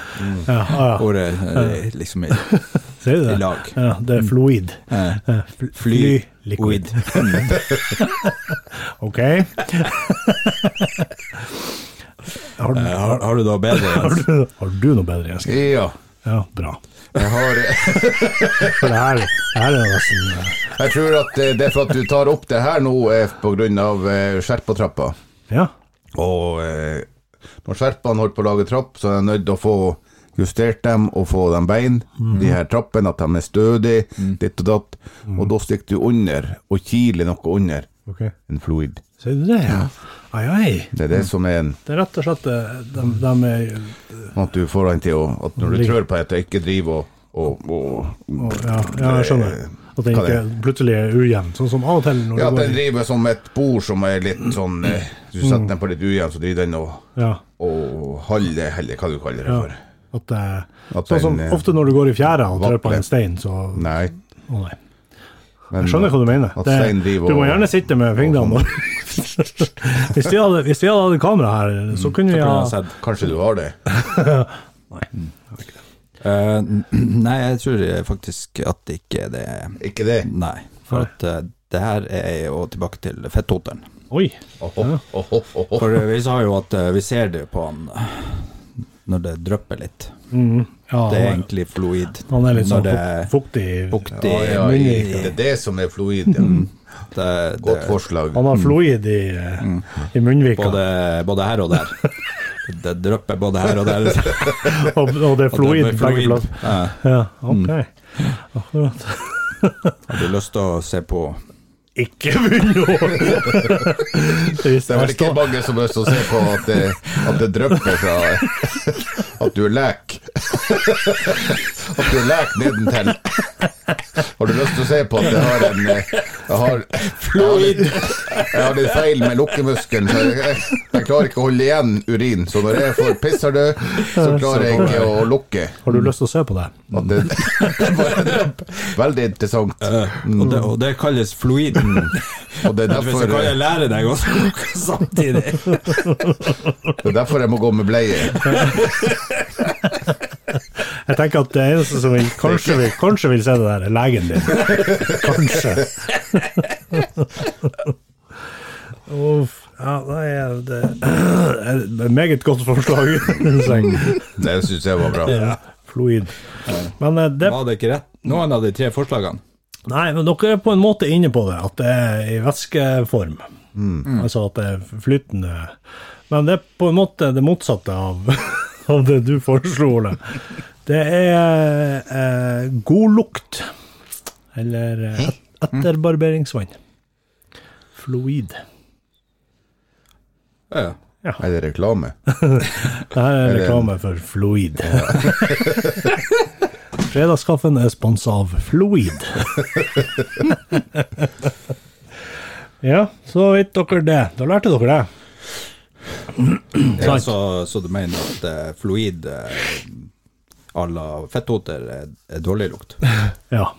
S3: ah, ja.
S2: ordet eh, liksom i,
S3: Sier du
S2: i
S3: det?
S2: lag.
S3: Ja, det er floid.
S2: Eh,
S3: Eh, fl-
S2: fly
S3: Flyliquid.
S2: liquid. Mm.
S3: Ok. har, du,
S2: Eh, Har, har du da bedre?
S3: har,
S2: Jens?
S3: du, har du noe bedre, Jens?
S4: Ja.
S3: Ja, bra.
S4: Jeg, har,
S3: For det her, det her er nesten eh,
S4: jeg tror at eh, det er for at du tar opp det her nå, er på grunn av eh, skjerpatrappa.
S3: Ja.
S4: Og eh, når skjerpene holdt på å lage trapp, så er jeg nødt til å få justert dem og få dem bein,
S3: Mm.
S4: de her trappene, at de er stødige, ditt og datt. Og da stikker du under og kiler noe under
S3: Mm. Ok.
S4: en fluid.
S3: Sier du det? Ja. Ai, ai.
S4: Det er det som er en
S3: Det er rett og slett eh, de, de er
S4: At du får den til å At når du
S3: Ligger.
S4: trør på et, ikke driver og og, og
S3: Og, ja, ja, jeg skjønner.
S4: Eh,
S3: At den ikke plutselig er ujevn, sånn som av og til når
S4: Ja,
S3: du
S4: den
S3: går i
S4: driver som et bord som er litt sånn eh, Du setter den på litt ujevn, så driver den og,
S3: ja,
S4: og holder heller hva du kaller det
S3: ja,
S4: for.
S3: at, eh,
S4: At
S3: Sånn som
S4: den, eh,
S3: ofte når du går i fjæra og trør på en
S4: vakler.
S3: stein, så Å
S4: Nei.
S3: nei.
S4: Men,
S3: Jeg skjønner hva du mener.
S4: At
S3: Det,
S4: steinen driver
S3: du må
S4: og-
S3: gjerne sitte med fingrene og Hvis vi hadde, hvis vi hadde hatt kamera her, så kunne vi
S2: Ja.
S3: ha
S2: Uansett.
S4: Kanskje du har det?
S2: Eh, nei, jeg tror faktisk at ikke det
S4: Ikke det?
S2: Nei. For at eh, det her er jo tilbake til fettoteren.
S3: Oi!
S4: Åh, åh, åh, åh, åh.
S2: For eh, vi sa jo at eh, vi ser det jo på han eh, når det drypper litt.
S3: Ja,
S2: Det er
S3: han,
S2: egentlig fluid.
S3: han er litt
S2: Når
S3: sånn
S2: det
S3: fuk- fuktig.
S2: buktig
S4: Ja, ja, i-
S2: munn.
S4: det er det som er fluid. Ja.
S2: Det, eh, det,
S4: Godt forslag.
S3: Mm. Han har fluid i, i munnvika,
S2: både, både her og der. Det drypper både her og der.
S3: og, og det er fluid
S2: Det er
S3: begge
S2: fluid.
S3: plasser.
S2: Ja.
S3: Ja, ok. Akkurat.
S2: Har du lyst til å se på
S3: Ikke begynn å
S4: Det er vel ikke mange som har lyst til å se på at det, at det drypper fra At du er lek. At du er lek nedentil. Har du lyst til å se på at jeg har en eh, Jeg har,
S2: Fluid.
S4: Jeg har litt, jeg har litt feil med lukkemuskelen. så Jeg, jeg, jeg klarer ikke å holde igjen urin. Så når jeg får pisserdød, så klarer jeg ikke å lukke.
S3: Har du lyst til å se på det?
S4: At det, det bare drypper. Veldig interessant.
S2: og, det, og det kalles fluiden.
S4: Og det er
S2: Hvis jeg
S4: derfor, eh,
S2: kan jeg lære deg også noe samtidig.
S4: det er derfor jeg må gå med bleie.
S3: Jeg tenker at det eneste som vil, kanskje, vil, kanskje vil se det der, er legen din. Kanskje. Uff. Ja, nei, det er et meget godt forslag. Seng.
S4: Det syns jeg var bra.
S3: Fluid. Men eh, det
S2: Var det ikke rett? Noen av de tre forslagene.
S3: Nei, men dere er på en måte inne på det, at det er i væskeform. Altså at det er flytende. Men det er på en måte det motsatte av, av det du foreslo, Ole. Det er eh, god lukt. Eller eh, et, etterbarberingsvann. Fluid.
S2: Ja, ja.
S4: Er det reklame?
S3: Det her er reklame for Fluid. Fredagskaffen er sponsa av Fluid. ja, så vet dere det. Da lærte dere det. Mm.
S2: Ja, så, så du mener at eh, fluid eh, à la fetthoter er, er dårlig lukt?
S3: Ja.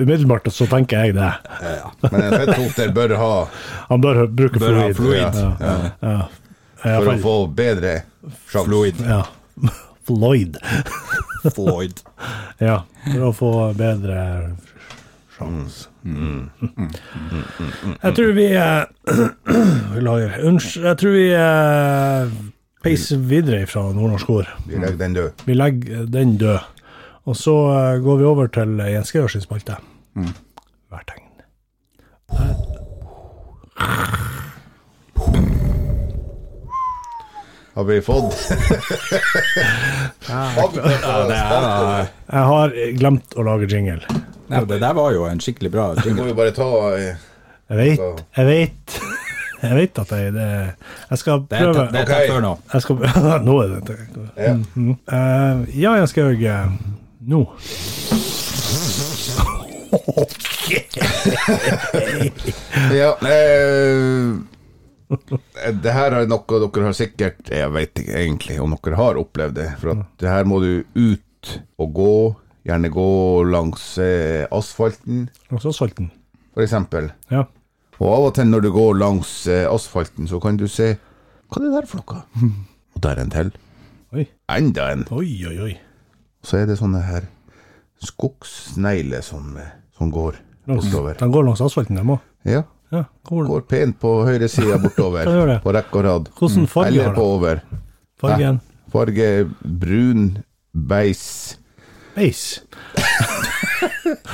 S3: Umiddelbart så tenker jeg det.
S4: Men en fetthoter bør ha
S3: Han bør bruke
S2: Bør ha
S3: fluid.
S2: fluid.
S3: Ja. Ja. Ja.
S4: for å
S3: iallfall-
S4: få bedre sjans.
S2: Fluid.
S3: ja. Floyd.
S2: Floyd.
S3: Ja, for å få bedre sjans. Jeg tror vi eh, Beklager. Unnskyld. Jeg tror vi eh, peiser videre fra nordnorsk ord.
S4: Vi legger den død.
S3: Vi legger den død. Og så eh, går vi over til Jens Georg sin spalte. Værtegn.
S4: Har vi fått
S2: Det, er,
S3: Jeg har glemt å lage jingle.
S2: nei, det der var jo en skikkelig bra
S4: Vi
S2: jingle.
S4: må jo bare ta eh,
S3: Jeg veit, jeg veit Jeg vet at jeg det, Jeg skal
S2: Det er
S3: prøve.
S2: tatt- det er tatt
S4: Ok.
S2: før nå.
S3: Jeg skal, nå er det
S4: Ja.
S3: Mhm. Eh, Ja, jeg skal jo eh, Nå.
S4: Ja. Eh, det her er noe dere har sikkert Jeg vet ikke egentlig om dere har opplevd det. For at det her må du ut og gå. Gjerne gå langs eh, asfalten,
S3: Og så asfalten.
S4: f.eks. Og
S3: Ja.
S4: av og til når du går langs eh, asfalten, så kan du se Hva er det der for noe? Og der en til.
S3: Oi,
S4: Enda en.
S3: oi, oi. oi.
S4: Så er det sånne her skogssnegler som, eh, som går bortover.
S3: De går langs asfalten, de òg.
S4: Ja,
S3: Ja, hvor-
S4: går pent på høyresida
S3: Ja, gjør
S4: bortover,
S3: det.
S4: på rekke og rad.
S3: Hvordan farge
S4: Eller
S3: har
S4: Mm. på
S3: de?
S4: over.
S3: Fargen
S4: Farge brun beis.
S3: beis.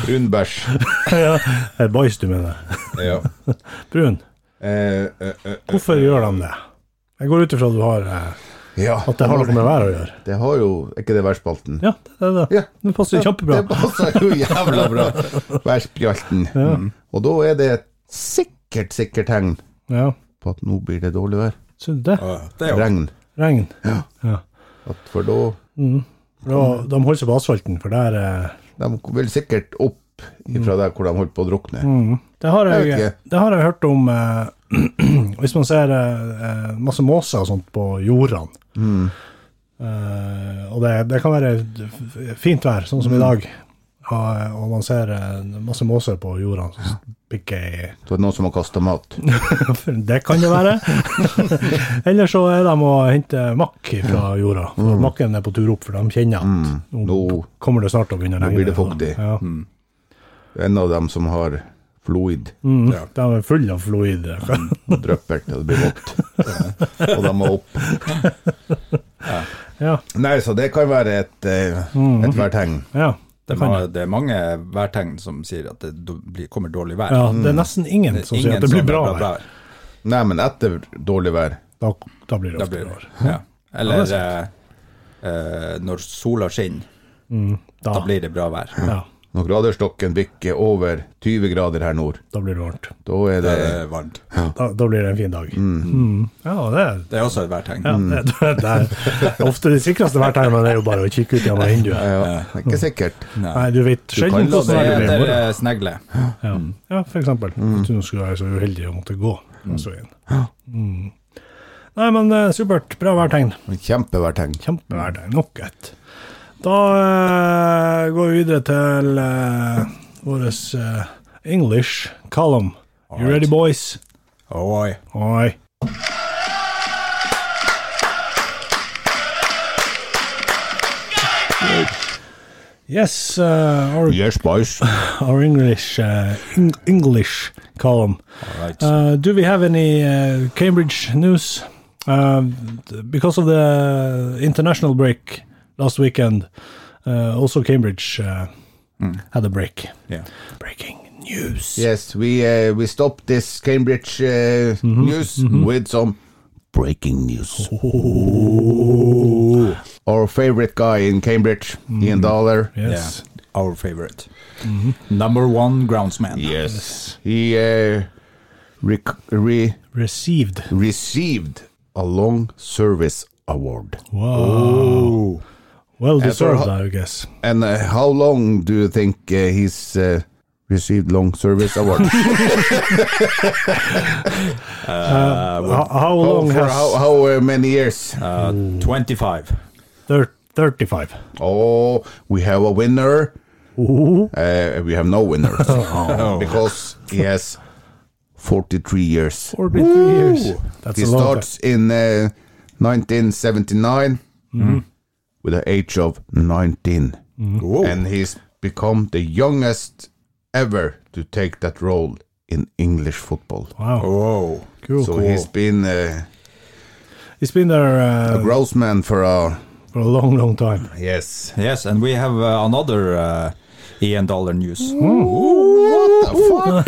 S4: Brun bæsj.
S3: Er det bæsj du mener?
S4: Ja.
S3: Brun.
S4: Eh, eh, eh, eh.
S3: Hvorfor gjør de det? Jeg går ut ifra at du har eh,
S4: ja.
S3: At det har noe med været å gjøre.
S4: Det har jo Er ikke det værspalten?
S3: Ja, det er det.
S4: Ja.
S3: Det passer kjempebra.
S4: Det passer jo jævla bra. Værspjalten. Mm. Og da er det et sikkert, sikkert tegn
S3: Ja.
S4: på at nå blir det dårlig vær.
S3: Syns du det?
S2: Ja, Det er jo
S4: Regn.
S3: Regn.
S4: At for da
S3: Og de holder seg på asfalten, for der eh,
S4: De vil sikkert opp fra der hvor de holdt på å drukne.
S3: Mm. Det har jeg,
S4: Jeg vet ikke.
S3: det har jeg hørt om eh, Hvis man ser eh, eh, masse måser og sånt på jordene
S4: Mm.
S3: eh, Og det, det kan være f- fint vær, sånn som
S4: Mm.
S3: i dag. Og, og man ser eh, masse måser på jordene som pikker i
S4: Så er det noen som har kasta mat.
S3: Det kan det være. Eller så er de og henter makk fra jorda.
S4: Mm.
S3: For Makken er på tur opp, for de kjenner at nå
S4: Nå
S3: kommer det snart å begynne å regne.
S4: Mm. blir det fuktig. Mm.
S3: Ja.
S4: en av dem som har fluid
S3: Mm. De er fulle av fluid.
S4: og drypper til det blir vått. Og de må opp.
S3: Ja,
S4: Nei, så det kan være et, eh, et værtegn.
S3: ja.
S2: Det, må, det er mange værtegn som sier at det do- blir, kommer dårlig vær.
S3: Ja, det er nesten ingen
S2: Mm. Det er
S3: som sier
S2: ingen
S3: at det blir
S2: som
S3: bra
S2: er
S3: vær.
S4: Nei, men etter dårlig vær
S3: Da, da blir det
S2: Da
S3: ofte
S2: blir
S3: bra.
S2: det ja. Eller
S3: Ja, det
S2: eh, eh, når sola skinner,
S3: Da,
S2: da blir det bra vær.
S3: ja,
S4: Når graderstokken bikker over 20 grader her nord,
S3: da blir det varmt.
S4: da er
S2: Det
S4: det
S2: er varmt.
S3: Da, da blir det en fin dag. Mm. Ja, det er
S2: Det er også et værtegn.
S3: ja, det, det er ofte det sikreste værtegnene er jo bare å kikke ut gjennom vinduet.
S4: ja, det er ikke sikkert.
S3: Nei, du vet sjelden
S4: kan la
S3: hvordan været
S2: Det
S3: blir
S2: er
S3: i
S2: etter
S3: morgen.
S2: eh, snegle.
S3: Ja, ja for eksempel.
S2: Mm.
S3: Hvis du nå skulle være så uheldig å måtte gå. Altså inn. Mm. Nei, men eh, supert. Bra værtegn.
S4: Kjempeværtegn.
S3: Kjempeværtegn. Nok et. Da eh, går vi videre til uh, vår eh, English column. You ready, boys?
S2: Oi.
S3: Oi. Yes, uh, our,
S4: Yes, boys.
S3: our English uh, Eng- English column.
S2: All right.
S3: Uh, do we have any uh, Cambridge news? Uh, th- because of the international break last weekend, uh, also Cambridge uh,
S4: Hmm.
S3: had a break.
S2: Yeah.
S3: Breaking news.
S4: Yes, we, eh, we stop this Cambridge eh, news with some breaking news. Our favorite guy in Cambridge, Ian Dollar.
S3: Yes.
S2: Yeah. Our favorite. Number one groundsman.
S4: Yes. He uh, rec- re-
S3: Received.
S4: received a long service award.
S2: Oh.
S3: Well
S4: Uh, for
S3: deserved,
S4: ho-
S3: I guess.
S4: And uh, how long do you think uh, he's uh, received long service award?
S3: How, how
S4: how,
S3: long
S4: Oh, for
S3: has
S4: how, how uh, many years?
S2: Uh, 25.
S3: thir- 35?
S4: oh, we have a winner. Uh, we have no winner because he has 43 years.
S3: 43 years. That's
S4: He
S3: a long
S4: starts in uh, 1979
S3: Mm-hmm.
S4: with the age of 19. And he's become the youngest ever to take that role in English football.
S3: time. Wow.
S2: Whoa.
S3: Cool.
S4: So
S3: cool.
S4: he's been uh,
S3: he's been there
S4: a
S3: uh,
S4: gross man for a.
S3: for a long, long time.
S4: Yes.
S2: Yes, and we have uh, another uh, Ian Dollar news.
S4: What the fuck?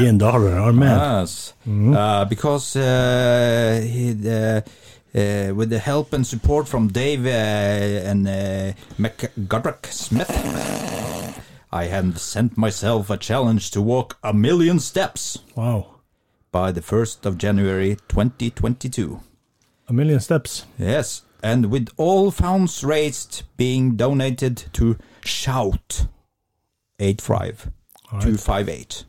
S3: Ian Darwin, our
S2: Uh-huh.
S3: man.
S2: Yes, uh, because uh, he, uh, uh, with the help and support from Dave uh, and uh, McGodrick Smith, I have sent myself a challenge to walk a million steps
S3: Wow.
S2: by the 1st of January 2022.
S3: A million steps.
S2: Yes, and with all funds raised being donated to Shout 85258.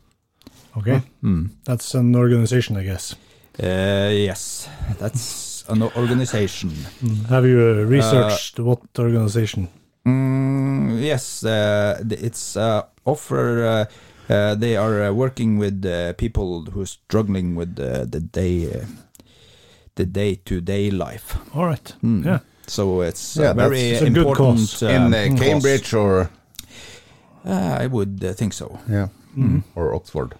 S3: Okay.
S2: Hmm.
S3: That's an organization, I guess.
S2: Uh, yes, that's an organization.
S3: Have you uh, researched what organization?
S2: Mm, yes, uh, th- it's uh, offer. Uh, uh, they are uh, working with uh, people who are struggling with uh, the day, uh, the day-to-day life.
S3: All right.
S2: hmm.
S3: Yeah.
S2: So it's
S4: Yeah,
S2: uh,
S4: that's-
S2: very
S4: it's
S3: a good
S2: important.
S3: cause.
S2: uh,
S4: in uh,
S2: cause.
S4: Cambridge or.
S2: Uh, I would uh, think so.
S4: Yeah.
S3: Mm-hmm.
S4: Or Oxford.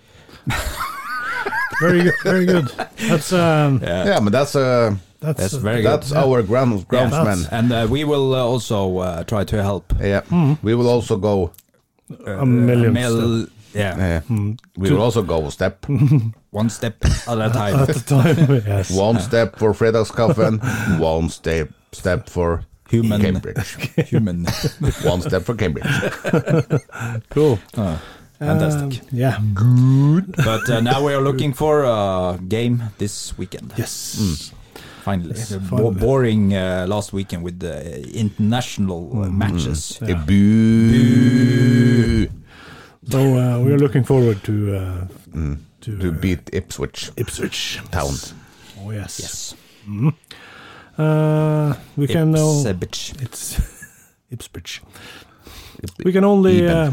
S3: Very good. Very good. That's um.
S4: Yeah, but that's uh,
S3: That's,
S2: That's very good.
S4: that's our ground groundsman.
S3: that's-
S2: And uh, we will uh, also uh, try to help.
S4: Yeah,
S3: Mm-hmm.
S4: we will also go.
S3: a million. steps
S2: Mel- yeah,
S4: Yeah.
S3: Mm-hmm.
S4: We will also go step
S2: one step at a time.
S3: At the time, yes.
S4: one step for Fredagskaffen, one step step for
S2: Human.
S4: Cambridge,
S2: Human.
S4: one step for Cambridge.
S3: Cool.
S2: Ah, Fantastic.
S3: Um, yeah.
S2: But uh, now we are looking for a game this weekend.
S3: Yes.
S2: Finally. Bo- boring uh, last weekend with the international uh, matches.
S4: Eh, Bu
S3: So uh, we are looking forward to uh, to,
S4: To
S3: uh,
S4: beat Ipswich
S3: Ipswich.
S4: Town.
S3: Oh yes.
S2: Yes.
S3: Uh, we can now.
S2: Ipswich.
S3: It's Ipswich. We can only
S4: Iben.
S3: uh,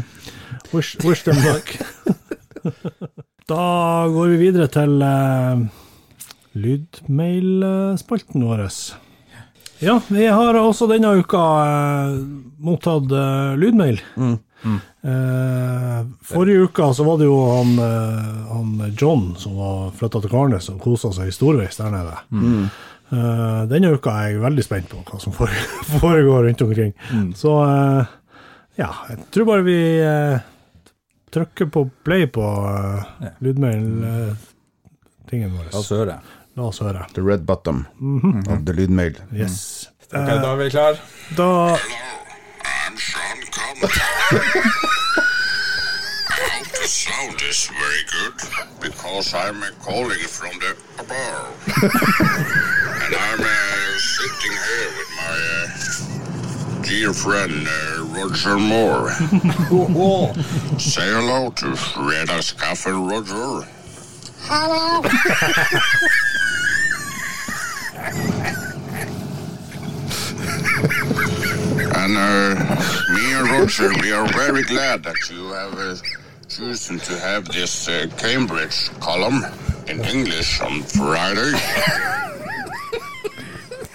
S3: wish, wish them luck. da går vi videre til uh, lydmailspalten vår. Ja, vi har også denne uka eh, mottatt eh, lydmail. Eh, forrige uka så var det jo han, eh, han John som var flytta til Karnes og kosa seg i storveis der nede.
S2: Mm.
S3: Eh, denne uka er jeg veldig spent på hva som fore- foregår rundt omkring.
S2: Mm.
S3: Så eh, ja, jeg tror bare vi eh, trykker på play på uh,
S2: Ja. Mm.
S3: lydmail-tingen vår.
S2: La oss høre.
S3: La oss høre.
S4: The Red Bottom of the Lydmail.
S3: Yes.
S2: Mm.
S3: Eh,
S2: da er vi klar
S3: Da
S5: I'm Sean Connery. I hope the sound is very good because I'm uh, calling from the above. and I'm uh, sitting here with my uh, dear friend uh, Roger Moore. Say hello to Fredags Cafe, Roger. Hello. And uh, me and Roger, we are very glad that you have uh, chosen to have this uh, Cambridge column in English on Friday.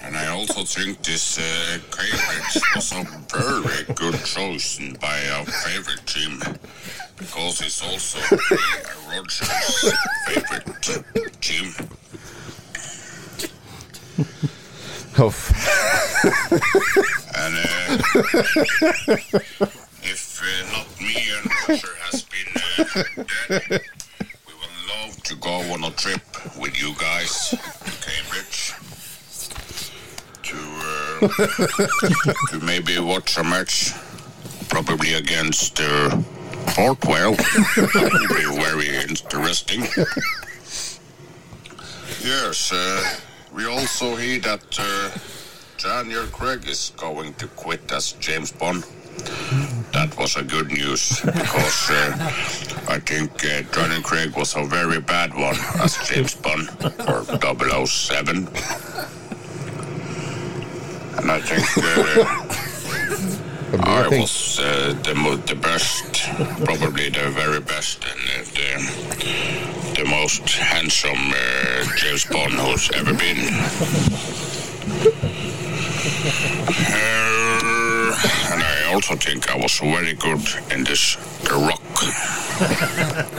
S5: and I also think this uh, Cambridge was a very good chosen by our favorite team because it's also me and Roger's favorite team.
S4: Huff.
S5: And uh, if uh, not me and Roger has been uh, dead, we would love to go on a trip with you guys to Cambridge to uh, to maybe watch a match, probably against uh, Fortwell. That would be very interesting. Yes, uh, we also hear that. Uh, Daniel Craig is going to quit as James Bond. That was a good news because uh, I think uh, Daniel Craig was a very bad one as James Bond oh or 007. And I think uh, I
S4: think-
S5: was uh, the, mo- the best, probably the very best and uh, the, the most handsome uh, James Bond who's ever been. Uh, and I also think I was very good in this The Rock.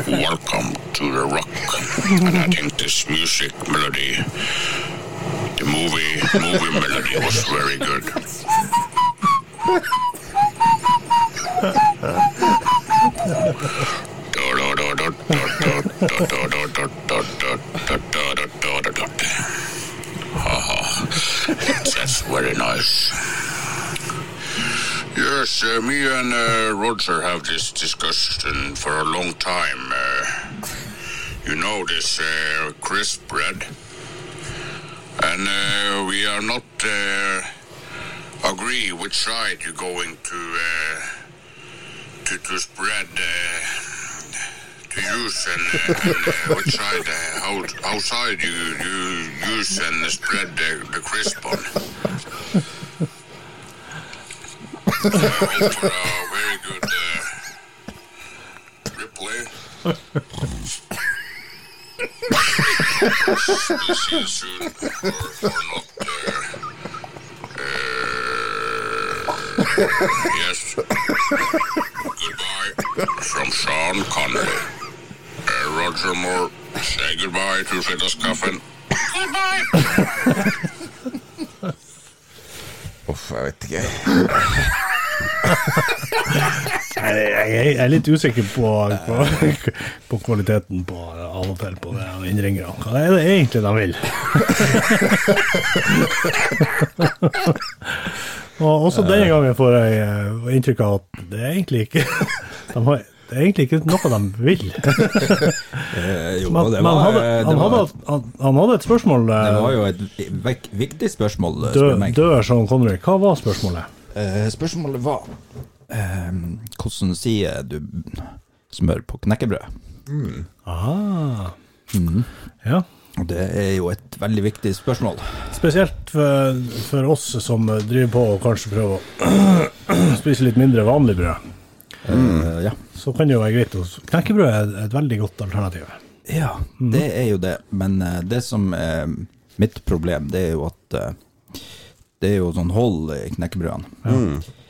S5: Welcome to The Rock. And I think this music melody, the movie movie melody was very good. Dot, dot, dot, dot, dot, dot, dot, dot, dot, dot, dot, dot, dot, dot, dot, dot. That's very nice. Yes, uh, me and uh, Roger have this discussion for a long time. Uh, you know this uh, crisp bread, and uh, we are not uh, agree which side you're going to uh, to to spread uh, to use and, uh, and uh, which side uh, how how side you you use and spread the, the crisp on. hope for a very good uh, replay. we'll see you soon, or, or not. Uh, uh, yes. Goodbye from Sean Connery. Uh, Roger Moore, say goodbye to Fiddler's Coffin. Goodbye.
S4: Uff, jeg vet ikke.
S3: jeg, jeg, jeg er litt usikker på, på, på kvaliteten på av og til på det og innringerne. Hva er det egentlig de vil? og også denne gangen får jeg eh, inntrykk av at det er egentlig ikke de har, det er egentlig ikke noe de vil.
S2: Eh, jo,
S3: Men,
S2: det
S3: men han,
S2: var,
S3: hadde,
S2: eh, det
S3: han,
S2: var-
S3: hadde, han, han hadde et spørsmål. eh,
S2: Det var jo et vik- viktig spørsmål. eh, spør
S3: Dør,
S2: meg.
S3: dør Sean Connery. Hva var spørsmålet?
S2: Eh, spørsmålet var eh, Hvordan sier du smør på knekkebrød?
S3: Ah. Ja.
S2: Og det er jo et veldig viktig spørsmål.
S3: Spesielt for, for oss som driver på og kanskje prøver å spise litt mindre vanlig brød. Mm.
S2: Eh, ja.
S3: Så kan det jo være greit å Knekkebrød er et veldig godt alternativ.
S2: ja,
S3: Mhm.
S2: det er jo det. Men eh, det som er mitt problem, det er jo at eh, det er jo sånn hold i knekkebrødene.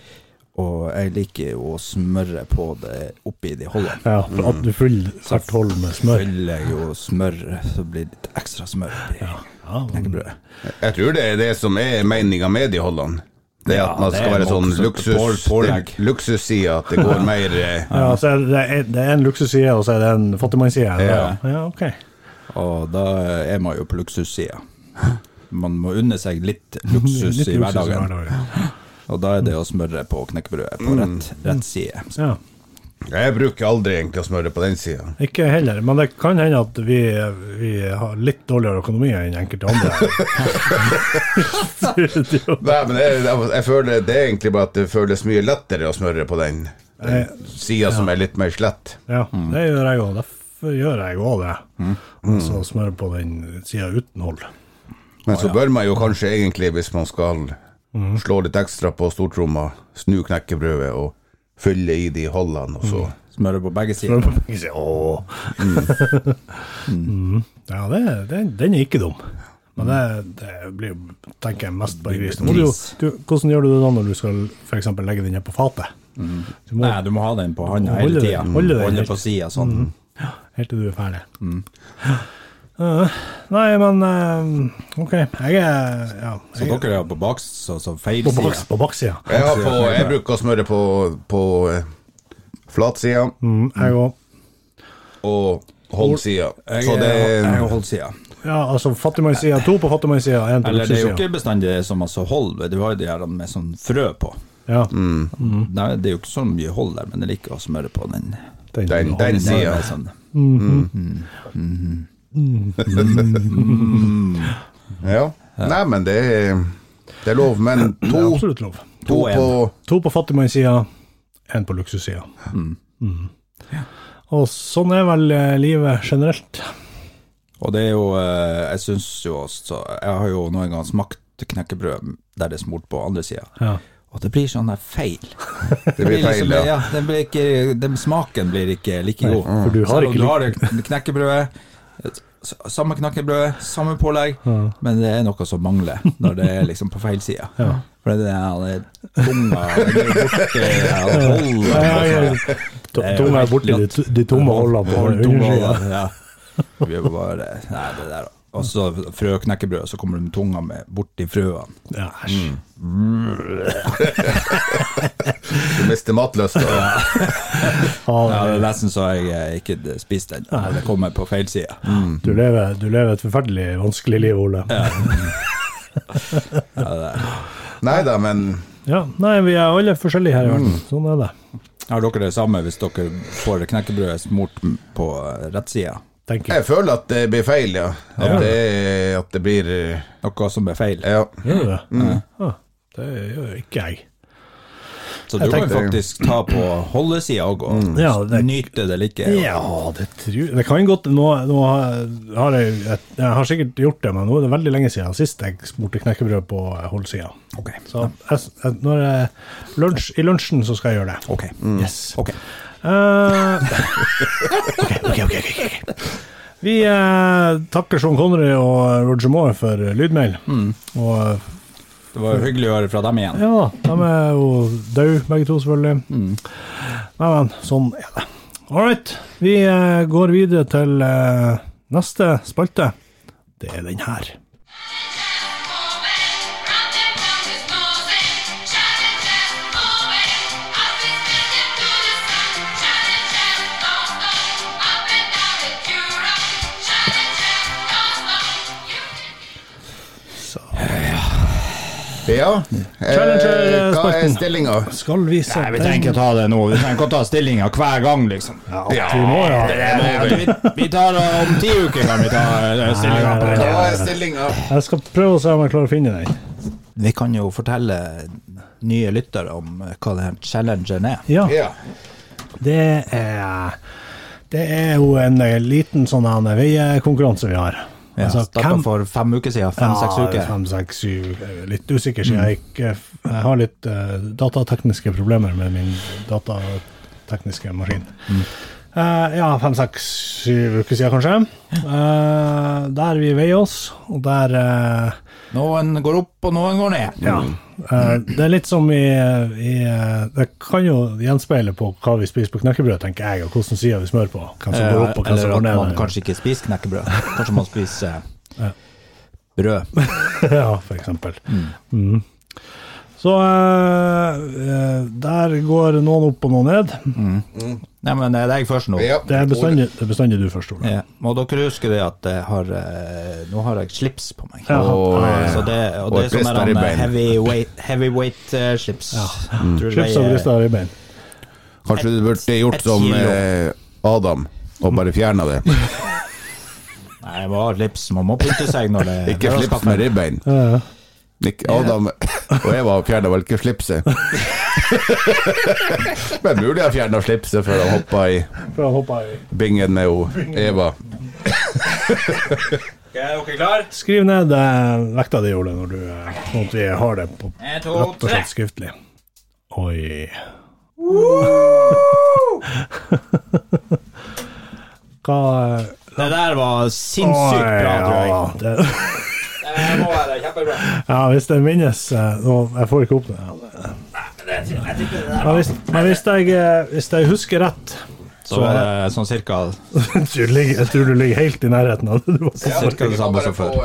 S2: Og jeg liker jo å smøre på det oppi de holdene.
S3: Ja, for at du fyller hvert hold med smør.
S2: Fyller jeg jo smør, så blir det litt ekstra smør oppi
S3: Ja,
S2: knekkebrødet.
S4: Jeg tror det er det som er meninga med de holdene. Det
S2: Ja,
S4: at man
S2: det
S4: skal
S2: er
S4: være
S2: nok
S4: sånn
S2: sånn
S4: luksus,
S2: på- pålegg.
S4: det- luksussida, at det går mer eh,
S3: ja så er det, en- det er en luksusside, og så er det en fattigmannsside.
S4: Ja.
S3: ja, ok.
S2: Og da er man jo på luksussida. Man må unne seg litt luksus
S3: Litt
S2: i
S3: luksus
S2: hverdagen. Og da er det å smøre på knekkebrødet på rett, rett side.
S3: Ja.
S4: Jeg bruker aldri egentlig å smøre på den sida.
S3: Ikke heller, men det kan hende at vi, vi har litt dårligere økonomi enn enkelte andre. Studio.
S4: Nei, men jeg, jeg, jeg føler det er egentlig bare at det føles mye lettere å smøre på den,
S3: Eh,
S4: den sida som er litt mer slett.
S3: Ja,
S2: Mm.
S3: det gjør jeg òg. Derfor gjør jeg òg det. Og
S2: Mm.
S3: så smører på den sida uten hold.
S4: Men så bør man jo kanskje egentlig, hvis man skal slå litt ekstra på stortromma, snu knekkebrødet og fylle i de holdene, og så
S2: Smøre på begge
S3: Smører
S2: sider.
S3: på begge sider. Åh.
S2: Mm.
S3: Mm. Ja, det, det, den er ikke dum. Men det, det blir jo, tenker jeg, mest bare gris. Du må jo, du, hvordan gjør du det da når du skal f.eks. legge den ned på fatet? Du må,
S2: Nei, du må ha den på handa
S3: Holde
S2: hele
S3: det-
S2: tida.
S3: holde det
S2: Holde
S3: helt.
S2: på sida sånn.
S3: Helt til du er ferdig.
S2: Mm.
S3: Eh, nei, men eh, OK. Jeg er ja,
S2: Så
S3: jeg,
S2: dere er jo på baks, så, så feil
S3: på
S2: side.
S3: baks- på baksida.
S4: Jeg, har på, jeg bruker å smøre på, på eh, flatsida
S3: Mm, jeg òg.
S4: og holdsida.
S2: Jeg
S4: Så det
S2: er- jeg er holdsida.
S3: Ja, altså fattigmannssida. To på fattigmannssida, én på
S2: Eller det er jo
S3: luksussida.
S2: ikke bestandig som altså hold, du har jo de her med sånn frø på.
S3: Ja,
S2: Mm. Nei, det er jo ikke så mye hold der, men jeg liker å smøre på den.
S3: den,
S4: den, den sida.
S2: Med sånn.
S4: Ja. Nei, men det er, det er lov. Men
S3: Det er
S4: to,
S3: absolutt lov.
S4: to
S2: og en.
S4: på
S3: To på fattigmannssida, én på luksussida. Mhm. Og sånn er vel eh, livet generelt.
S2: Og det er jo eh, Jeg syns jo også Jeg har jo noen gang smakt knekkebrød der det er smurt på andre sida.
S3: Ja.
S2: Og det blir sånn der feil.
S4: Det blir feil,
S2: liksom,
S4: ja.
S2: ja. Den blir ikke, den smaken blir ikke like god.
S3: for du har
S2: Selv om
S3: ikke
S2: du har det knekkebrødet, s- samme knekkebrød, samme pålegg, men det er noe som mangler når det er liksom på feil side. For det er den tunga den er borti her, og holder
S3: Ja, ja, ja.
S2: på sånn.
S3: To-
S2: Det er jo
S3: Tunga er
S2: helt
S3: borti de,
S2: rått.
S3: to- de tomme hullene på
S2: Holder tunga,
S3: undersida.
S2: Ja. Vi er bare Nei, det der Og så frøknekkebrød, så kommer du med tunga med borti frøene.
S3: Ja, æsj.
S4: Du mister matlysta.
S2: Ja, det
S3: Ja,
S2: er nesten så jeg eh, ikke spiser den. Det kommer på feil side.
S3: du, lever, du lever et forferdelig vanskelig liv, Ole.
S4: Nei da, men
S3: Ja, Nei, vi er alle forskjellige her i verden. Sånn er det.
S2: Har dere det samme hvis dere får knekkebrødet smurt på rett side?
S3: Tenker jeg.
S4: jeg føler at det blir feil, ja. At, det, er- at det blir eh,
S2: Noe som er feil.
S4: Ja.
S3: Gjør du det? Ja, det gjør ikke jeg.
S2: Så du
S3: Jeg Mm.
S2: kan
S4: tenkte-
S2: faktisk ta på holdesida òg og
S3: Ja, det-
S2: nyte det like.
S3: Ja, det tror Det kan godt Nå, nå har jeg, jeg Jeg har sikkert gjort det, men nå er det veldig lenge siden sist jeg smurte knekkebrød på holdsida.
S2: Ok.
S3: Så jeg, jeg, når jeg, lunsj, i lunsjen så skal jeg gjøre det.
S2: Ok. Mm.
S3: Yes.
S2: Ok.
S3: Eh, ok, ok, ok, ok, ok. Vi eh, takker Sean Connery og Roger Moore for lydmail.
S2: Mm.
S3: Og
S2: Det var jo hyggelig å høre fra dem igjen.
S3: ja da, de er jo døde begge to, selvfølgelig.
S2: Mm.
S3: Nei, men sånn er det. All right. Vi eh, går videre til eh, neste spalte. Det er den her.
S4: Det Ja. Eh,
S3: Challenger,
S4: hva er
S3: spørsmål.
S4: stillinga?
S3: Skal vi se
S2: Nei, vi trenger ikke ta det nå. Vi trenger ikke ta stillinga hver gang, liksom.
S4: Ja,
S3: Vi må, ja.
S2: Det er- vi, vi tar eh, Om ti uker kan vi eh, ta stillinga. på
S4: hva
S2: det.
S4: er stillinga?
S3: Jeg skal prøve å se om jeg klarer å finne den.
S2: Vi kan jo fortelle nye lyttere om eh, hva den challengeren er.
S3: Ja,
S4: Ja.
S3: det er Det er jo en eh, liten sånn her veiekonkurranse vi har.
S2: Ja,
S3: Altså,
S2: Starta
S3: hvem-
S2: for fem uker siden. Fem-seks
S3: Ja,
S2: uker.
S3: Fem, seks, syv, eh, litt usikker, siden jeg ikke Jeg har litt eh, datatekniske problemer med min datatekniske maskin.
S2: Mm.
S3: Eh, ja, fem-seks, syv uker siden, kanskje. Eh, der vi veier oss, og der eh,
S2: Noen går opp, og noen går ned.
S3: Ja. Eh, det er litt som i, i eh, Det kan jo gjenspeile på hva vi spiser på knekkebrød, tenker jeg, og hvilken side vi smører på. Hvem som går opp, og hvem
S2: Eh, Eller
S3: som går
S2: at man
S3: ned.
S2: kanskje ikke spiser knekkebrød. Kanskje man spiser eh, brød.
S3: ja, for eksempel. Mm. Så eh, eh, der går noen opp og noen ned.
S2: Nei, men er det jeg først nå?
S4: ja.
S3: Det er bestandig, det er bestandig du først, Ole.
S2: Mm. Ja. Må dere huske det at jeg har eh, Nå har jeg slips på meg.
S3: Ja.
S4: Og, eh,
S2: Så det, og
S4: Og
S2: det
S4: et
S2: som er sånn
S4: brister i
S2: en
S4: bein.
S2: eh, heavyweight, heavyweight eh, slips. Tror jeg
S3: Slips og
S2: er-
S3: brister i bein.
S4: Kanskje du burde
S2: et
S4: gjort som
S2: kilo.
S4: eh, Adam og bare fjerna det.
S2: Nei, jeg må ha slips. Man må pynte seg når det
S4: Ikke
S2: når det
S4: slips
S2: skal-
S4: med ribbein.
S3: Ja,
S4: Ikke Adam og Eva fjerna vel ikke slipset. Men mulig jeg fjerna slipset før han hoppa i
S3: for å hoppe i.
S4: bingen med ho, Eva.
S2: Er dere klare?
S3: Skriv ned eh, vekta di, Ole, når du, eh, sånn at vi har det på
S2: En, to,
S3: rett og
S2: tre.
S3: slett skriftlig. Oi. Hva eh,
S2: Det der var sinnssykt
S3: oi,
S2: bra, tror jeg.
S3: ja, det-
S2: Det må være kjempebra.
S3: Ja, hvis det minnes eh, nå, Jeg får ikke opp det. Ja. Men hvis, men hvis, jeg, eh, hvis jeg husker rett
S2: Så var det sånn cirka,
S3: du ligger, Jeg tror du ligger helt i nærheten av det du var på.
S2: sånn cirka det samme som før.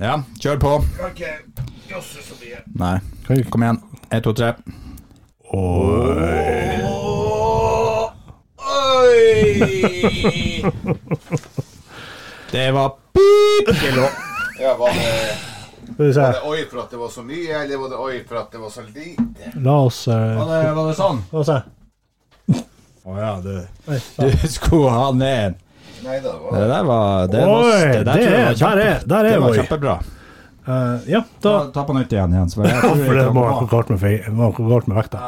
S2: Ja, kjør på. Nei.
S3: Oi.
S2: Kom igjen. Én, to, tre. Det var pip kilo.
S4: Ja, var det,
S3: Skal vi se.
S4: oi for at det var så mye, eller var det oi for at det var så lite?
S3: La oss eh,
S2: Var det, var det sånn?
S3: La oss se.
S2: Å ja, du.
S3: Oi,
S2: Du skulle ha ned.
S4: Nei da, det var
S2: Det der var Det, var,
S3: Oi,
S2: det der,
S3: det
S2: tror jeg var
S3: er- der er- der er
S2: det var
S3: oi.
S2: kjempebra.
S3: eh, ja, da
S2: Ta, ta på nytt igjen, Jens. for jeg tror
S3: For
S2: ikke
S3: det
S2: det
S3: må
S2: var
S3: være
S2: bra.
S3: galt med, fei- det var noe galt med vekta.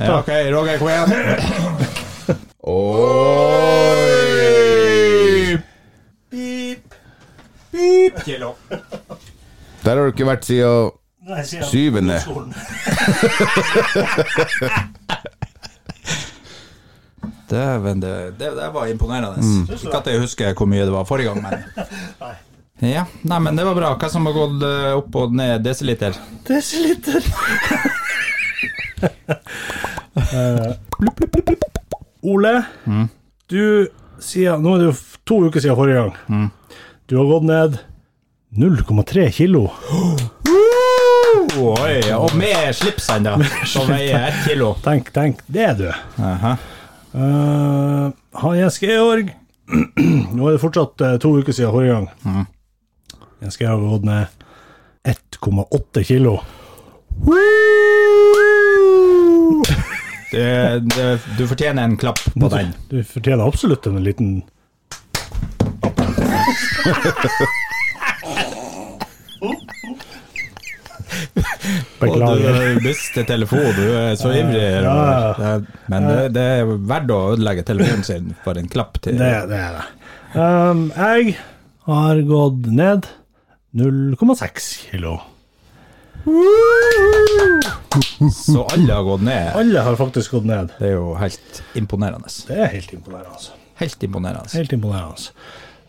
S2: Ja, OK, Roger, kom igjen.
S4: Oi!
S2: Pip. Pip kilo.
S4: Der har du ikke vært siden syvende.
S2: Dæven, det, det, det var imponerende.
S3: Mm.
S2: Ikke at jeg husker hvor mye det var forrige gang, men Ja, nei, men det var bra. Hva som har gått eh, opp og ned desiliter?
S3: Desiliter. Ole, du sier Nå er det jo f- to uker siden forrige gang. Du har gått ned 0,3 kilo.
S2: Oi, og med slips ennå, som veier ett kilo.
S3: Tenk, tenk, det er du. Eh, han Jens Georg Nå er det fortsatt eh, to uker siden forrige gang. Jens Georg har gått ned 1,8 kilo.
S2: Det, det, du fortjener en klapp på den.
S3: Du fortjener absolutt en liten
S2: Og
S3: Beklager.
S2: du mister telefonen, du er så ivrig.
S3: Ja.
S2: Roger. Men det, det er verdt å ødelegge telefonen sin for en klapp til.
S3: Det, det er det. Um, jeg har gått ned 0,6 kilo.
S2: Så alle har gått ned.
S3: Alle har faktisk gått ned.
S2: Det er jo helt imponerende.
S3: Det er helt imponerende. altså.
S2: Helt imponerende.
S3: Helt imponerende.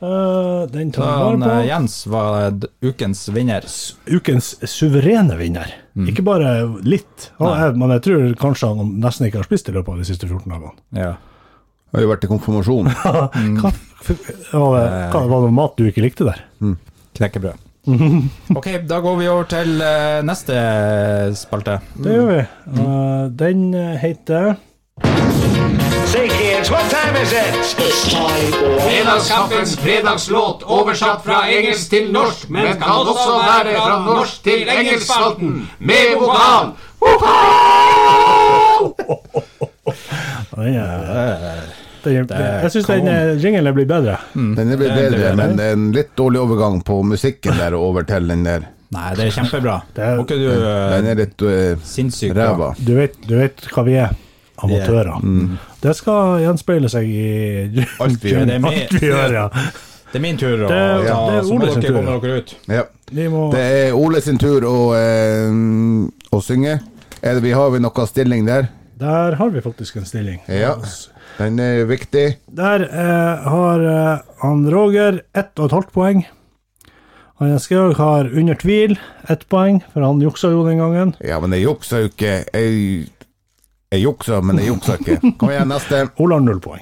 S3: Uh, den
S2: Så
S3: tar vi
S2: han, eh,
S3: vare
S2: Jens var d- ukens vinner.
S3: på. Ukens suverene vinner. Ikke bare litt. Han er, men jeg tror kanskje han nesten ikke har spist i løpet av de siste 14 dagene.
S2: Ja.
S4: Har jo vært i konfirmasjon.
S3: Hva, var det, eh, hva var det mat du ikke likte der?
S2: Knekkebrød. Ok, da går vi over til eh, neste spalte.
S3: Det gjør vi. Uh, den eh, heter
S6: Say, kids, what time is it? It's time for
S7: Fredagskaffens fredagslåt oversatt fra engelsk til norsk, men kan også være fra norsk til engelskspalten med vokal.
S3: Den er- den er- Jeg syns den eh, jinglen blir bedre.
S4: Den er blitt bedre, men en litt dårlig overgang på musikken der og over til den der.
S2: Nei, det er kjempebra.
S3: er-
S2: Var ikke du eh,
S4: Den er litt eh,
S2: sinnssykt bra?
S4: ræva.
S3: Du vet, du vet hva vi er. Amatører. Det skal gjenspeile seg i
S4: Alt vi
S2: gjør. Det er med-
S3: Alt vi gjør, ja.
S2: Det er min tur å
S3: er-
S2: ta,
S3: det er
S2: så må
S3: Ole sin
S2: dere
S3: tur,
S2: komme
S3: ja.
S2: dere ut.
S4: Ja.
S3: Vi må
S4: Det er Ole sin tur å, eh, å synge. Er det, vi har vi noe stilling der?
S3: Der har vi faktisk en stilling.
S4: Ja. Den er viktig.
S3: Der eh, har eh, han Roger ett og et halvt poeng. Han Jens Georg har under tvil ett poeng, for han juksa jo den gangen.
S4: Ja, men jeg juksa jo ikke. Jeg, jeg juksa, men jeg juksa ikke. Kom igjen, neste.
S3: Ole har null poeng.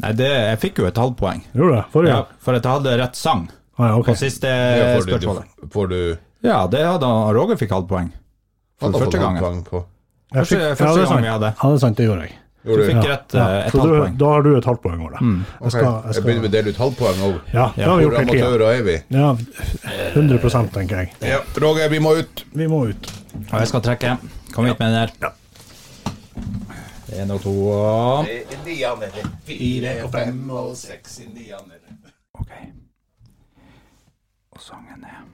S2: Nei, det, jeg fikk jo et halvt poeng.
S3: Gjorde det? Forrige
S2: Ja,
S3: gang?
S2: for at jeg hadde rett sang
S3: Ah, ja, ok.
S2: på siste Eh, spørsmålet.
S4: får du
S2: Ja, det hadde han- Roger fikk halvt poeng. For
S4: får
S2: første
S4: du
S2: gangen.
S4: poeng på.
S3: Jeg
S2: Første-
S3: fikk-
S2: første
S3: ja, det er
S2: gang
S3: sant.
S2: vi hadde.
S3: Ja, det er sant, det gjorde jeg.
S2: Du
S4: Gjorde du?
S2: fikk rett eh, et
S3: Så
S2: halvt
S3: du,
S2: poeng. Mm.
S3: da har du et halvt poeng, Ole. Jeg skal,
S4: Ok,
S3: jeg
S4: Jeg begynner
S3: skal,
S4: med å dele ut halvpoeng òg.
S3: ja, det har vi
S4: Hvor
S3: gjort hele tida.
S4: amatører er vi?
S3: Ja, 100 tenker jeg.
S4: Ja, Roger, vi må ut.
S3: Vi må ut.
S2: Og jeg skal trekke. Kom hit med den der. Én og to og
S4: Indianere. Fire og fem og seks indianere.
S2: Ok. Og sangen er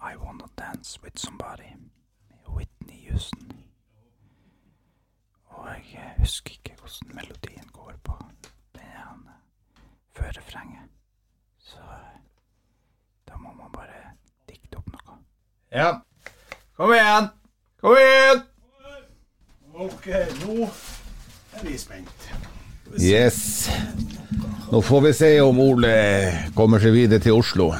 S2: I Wanna Dance With Somebody med Whitney Houston. Og jeg eh, husker ikke hvordan melodien går på den her eh, før refrenget. Så eh, da må man bare dikte opp noe. Ja. Kom igjen! Kom igjen!
S3: Ok, nå er vi spent.
S4: Yes. Nå får vi se om Ole kommer seg videre til Oslo.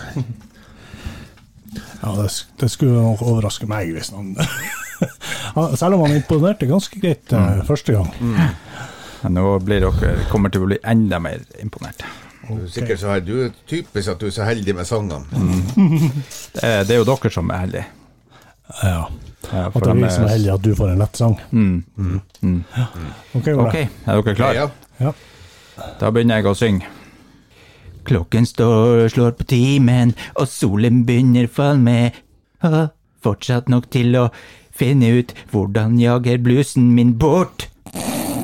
S3: Ja, det, sk- det skulle nok overraske meg hvis han Han- Selv om han imponerte ganske greit eh,
S2: Mm.
S3: første gang.
S2: Nå blir dere, kommer til å bli enda mer imponert.
S4: Sikkert så her, Du er typisk at du er så heldig med
S2: Mm.
S4: sangene.
S2: Det er, det er jo dere som er heldige.
S3: Ja.
S2: Ja,
S3: At
S2: for
S3: det er
S2: de
S3: vi som er
S2: er-
S3: heldige at du får en lett sang. Mm. Ja. Ok, Ole.
S2: Mm. Ok, er dere klare?
S4: Ja.
S3: Ja.
S2: Da begynner jeg å synge. Klokken står, slår på timen, og solen begynner falme. Ah, Fortsatt nok til å finne ut hvordan jager blusen min bort.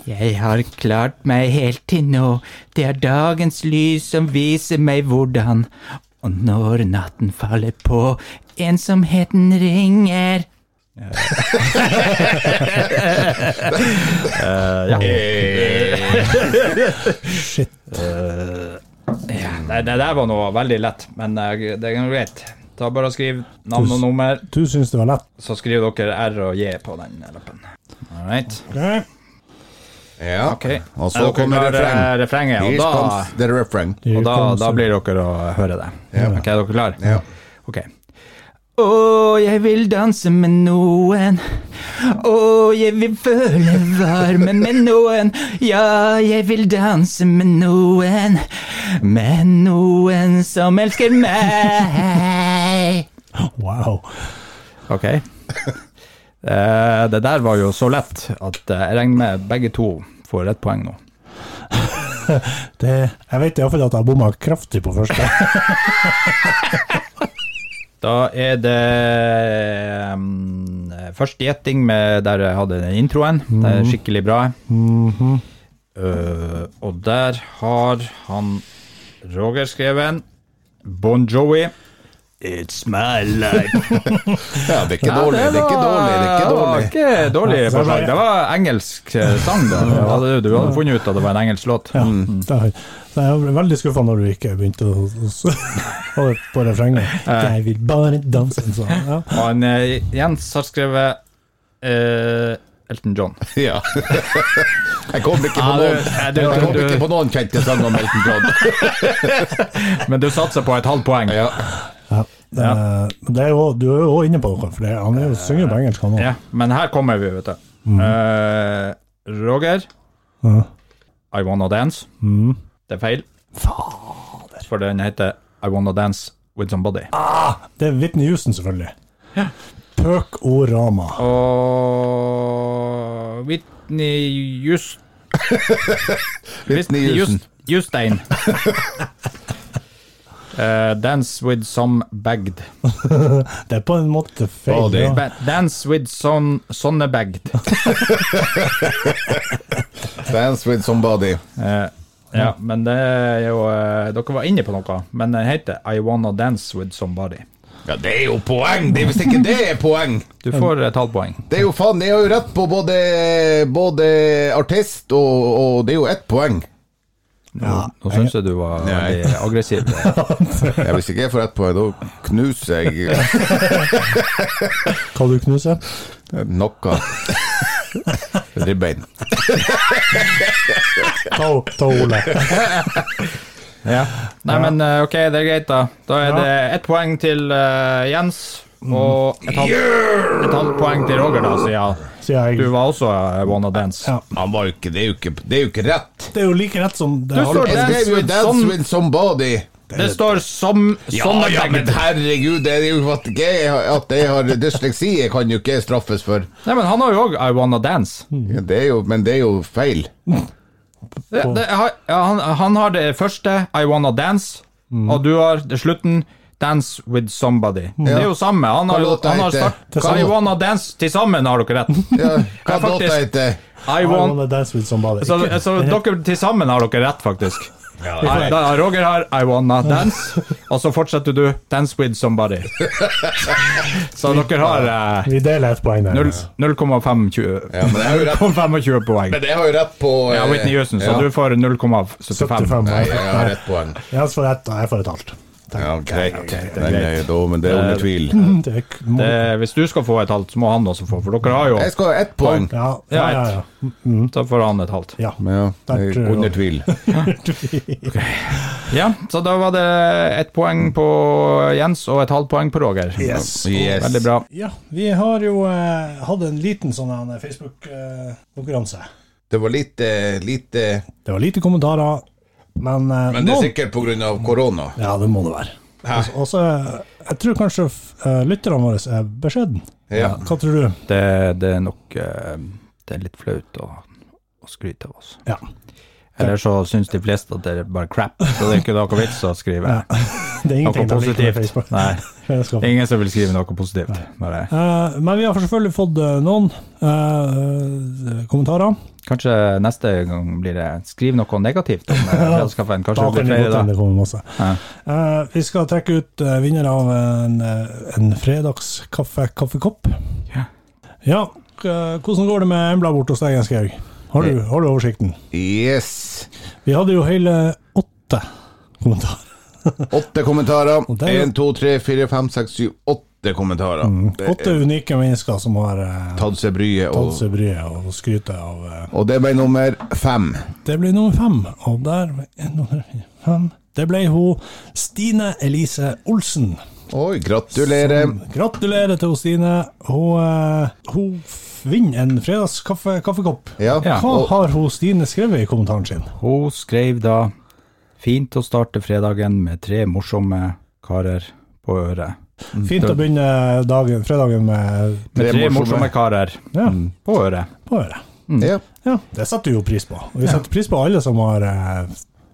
S2: Jeg har klart meg helt til nå, det er dagens lys som viser meg hvordan. Og når natten faller på, ensomheten ringer. Ja, det, det der var noe veldig lett, men eh, det er noe greit. Ta bare og Skriv navn og nummer,
S3: Du syns det var lett.
S2: så skriver dere R og J på den lappen. All right.
S3: Ok.
S4: ja.
S2: Ok.
S4: Og
S2: Er
S4: så
S2: dere
S4: kommer
S2: klare, eh,
S4: refrengen.
S2: refrenget, og
S4: Here
S2: da-
S4: comes the refrain.
S2: Og da,
S3: Here comes
S2: da
S3: the-
S2: blir dere å høre det. Ok, Er dere klare?
S4: Ja.
S2: Ok. Å, jeg vil danse med noen. Å, jeg vil føle varmen med noen. Ja, jeg vil danse med noen. Med noen som elsker meg.
S3: Wow.
S2: Ok. Eh, det der var jo så lett at eh, jeg regner med begge to får ett poeng nå.
S3: Det, jeg vet iallfall at jeg bomma kraftig på første.
S2: Da er det um, første gjetting med der jeg hadde den introen. Det er skikkelig bra. Mm-hmm. Uh, og der har han Roger skrevet Bon Jovi. It's my life.
S4: Ja, det er ikke dårlig, det er ikke dårlig. Det er ikke dårlig.
S2: Det var ikke dårlig forslag. Det var engelsk eh, sang, da. Du hadde, du hadde funnet ut at det var en engelsk låt. Mm.
S3: Ja, det, så jeg ble veldig skuffa når du ikke begynte å, å, å på refrenget. Jeg vil bare danse en sånn. Ja.
S2: Og han, eh, Jens har skrevet eh, Elton John.
S4: Ja. Jeg kom ikke på
S2: Ja, du-
S4: noen,
S2: ja, du-
S4: jeg kom
S2: du-
S4: ikke på noen kjente sanger om Elton John.
S2: Men du satser på et halvt poeng.
S4: Ja.
S3: Det, Eh, men det er jo, du er jo også inne på noe, for det, han er jo synger på engelsk, han òg.
S2: Ja, men her kommer vi, vet du. Eh, Roger,
S3: Ja.
S2: I Wanna Dance. Det er feil. Fader. For den heter I Wanna Dance With Somebody.
S3: Det er Whitney Houston, selvfølgelig. Pøk og Rama.
S2: Og Whitney Houston
S4: Litt Nielsen.
S2: Just- Justein. Eh, dance with some bagged.
S3: Det er på en måte feil.
S4: Å, det-
S3: ja.
S2: Ba- Dance with son, sonne bagged.
S4: Dance with somebody.
S2: Eh, ja, men det er jo eh, Dere var inne på noe, men den heter I Wanna Dance With Somebody.
S4: Ja, det er jo poeng! Det er Hvis ikke det er poeng!
S2: Du får et halvt poeng.
S4: Det er jo faen, jeg har jo rett på både, både artist og, og Det er jo ett poeng.
S2: Nå syns jeg du var
S4: Nei.
S2: veldig aggressiv.
S4: Ja, hvis ikke jeg får ett poeng, da knuser jeg
S3: Kan du knuse?
S4: noe. Ribbein.
S3: Ta, ta Ole.
S2: Ja. Nei, men eh, ok, det er greit, da. Da er det ett poeng til eh, Jens. Og et halvt, et halvt poeng til Roger, da, siden
S3: Sier
S2: Du
S3: jeg.
S2: var også eh, Wanna Dance.
S3: Ja.
S4: Han var jo ikke Det er jo ikke, det er jo ikke rett.
S3: Det er jo like rett som det
S2: Du
S3: halve.
S2: står
S4: Jeg
S2: Dance
S4: skrev jo
S2: with
S4: 'Dance
S2: some-
S4: with somebody'.
S2: Det står som
S4: Ja,
S2: sånne
S4: ja, men
S2: bagged.
S4: herregud, det er jo at jeg, at jeg har dysleksi, jeg kan jo ikke straffes for.
S2: Nei, men han har jo òg I Wanna Dance.
S4: Ja, det er jo, men det er jo feil.
S2: Det, det, jeg har- ja, han, han har det første, I Wanna Dance,
S4: Mm.
S2: og du har det slutten, Dance With Somebody. Det er jo samme. Han har,
S4: Hva
S2: jo-
S4: låta
S2: han har
S4: heter?
S2: start,
S4: Hva
S2: I
S4: låta-
S2: Wanna Dance til sammen, har dere rett.
S4: Ja, hva
S2: Ja, faktisk.
S4: låta heter
S2: I
S3: I
S2: want,
S3: wanna dance with somebody.
S2: så
S3: Ikke-
S2: så dere til sammen har dere rett, faktisk.
S3: ja.
S2: Nei, da, Roger har I Wanna Dance, og så fortsetter du Dance With Somebody. Så dere har eh,
S3: Vi deler ett poeng der.
S2: null- 0,25
S4: Ja, men jeg har jo rett,
S2: 25 poeng.
S4: men jeg har jo rett på
S2: Ja,
S4: eh,
S2: Whitney Houston, så
S4: ja.
S2: du får
S3: 75
S2: 0,75.
S4: Nei,
S3: poeng.
S4: jeg har rett på den.
S3: Jens får ett, og jeg får et halvt.
S4: Ja, greit. Nei, nei, da, men det er under tvil.
S3: Det er k- må-
S2: Eh, Hvis du skal få et halvt, så må han også få, for dere har jo
S4: Jeg skal ha ett poeng.
S3: Ja, ja, ja. ja.
S2: Så får han et halvt.
S3: ja.
S4: Men ja,
S3: Der
S4: jeg,
S3: tror jeg
S4: under
S3: også.
S4: tvil.
S2: Ja, så da var det ett poeng på Jens og et halvt poeng på Roger.
S3: Yes.
S4: Yes.
S2: Veldig bra.
S3: Ja, vi har jo eh, hatt en liten sånn her Facebook-konkurranse.
S4: Det var eh, lite, lite
S3: det var lite kommentarer, men, eh,
S4: Men det er
S3: noen
S4: sikkert på grunn av korona.
S3: Ja, det må det være. Og- Og så eh, Jeg tror kanskje eh, lytterne våre er beskjeden.
S4: Ja.
S3: Hva tror du?
S2: Det, det er nok eh, Det er litt flaut å, å skryte av oss.
S3: Ja,
S2: Eller så syns de fleste at det er bare crap, så det er ikke noe vits å skrive
S3: Det er
S2: noe
S3: ingenting de liker med
S2: positivt.
S3: Facebook.
S2: Nei,
S3: Fellesskap.
S2: det er ingen som vil skrive noe positivt. Bare.
S3: Eh, men vi har selvfølgelig fått eh, noen eh, kommentarer.
S2: Kanskje neste gang blir det skriv noe negativt om eh, fredagskaffen.
S3: Da
S2: Kanskje det
S3: kan
S2: blir
S3: det godt
S2: flere
S3: hende
S2: da.
S3: det kommer masse.
S2: Ja.
S3: Eh, vi skal trekke ut eh, vinner av en, eh, en fredagskaffe-kaffekopp.
S2: Ja.
S3: Ja, k- eh, hvordan går det med Embla borte hos deg, Jens Georg? Har du, har du oversikten?
S4: Yes.
S3: Vi hadde jo hele åtte kommentarer.
S4: Åtte kommentarer.
S3: Og det er jo- Mm.
S4: Én, to, tre, fire, fem, seks, syv, åtte kommentarer. Det er
S3: Åtte unike mennesker som har eh,
S4: Tatt seg bryet,
S3: tatt
S4: og,
S3: seg bryet og skryter av eh,
S4: og det ble nummer fem.
S3: Det ble nummer fem, og der er nummer fem. Det ble hun Stine Elise Olsen.
S4: Oi, gratulerer.
S3: Gratulerer til hun, Stine. Hun, eh, hun f- vinner en fredagskaffekopp.
S4: Ja.
S2: Ja.
S3: Hva
S4: Og,
S3: har hun Stine skrevet i kommentaren sin?
S2: Hun skrev da Fint å starte fredagen med tre morsomme karer på øret.
S3: Fint å begynne dagen, fredagen med
S2: Med tre
S4: Tre
S2: morsomme,
S4: morsomme
S2: karer mm,
S3: ja,
S2: på øret.
S3: på øret.
S4: ja.
S3: Ja, det setter vi jo pris på. Og vi setter pris på alle som har eh,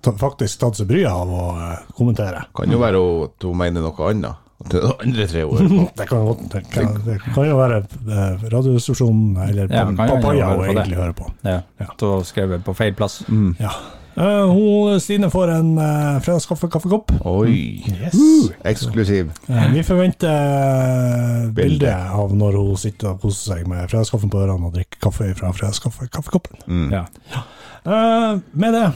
S3: ta- faktisk tatt seg bryet av å eh, kommentere.
S4: Kan jo være hun- at hun mener noe annet. At det er andre tre år.
S3: Det kan, jo godt- det kan, det kan jo være eh, Radioresepsjonen eller
S2: Ja,
S3: ja,
S2: det kan jo
S3: Papaya hun
S2: høre på det.
S3: egentlig hører på.
S2: Ja. Mm.
S3: Ja.
S2: Så skrev jeg på feil plass.
S3: Ja. Eh, hun, Stine får en uh, fredagskaffekopp.
S4: Oi.
S3: Yes.
S4: Eksklusiv.
S3: Eh, vi forventer eh,
S4: Bilde.
S3: bilde av når hun sitter og koser seg med fredagskaffen på ørene og drikker kaffe fra fredagskaffekoppen.
S2: Ja.
S3: Eh, med det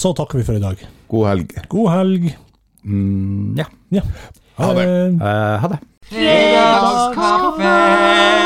S3: så takker vi for i dag.
S4: God helg.
S3: God helg.
S2: Mm, ja.
S3: Ja.
S4: Ha det.
S2: Eh, ha det.
S7: Fredagskaffe.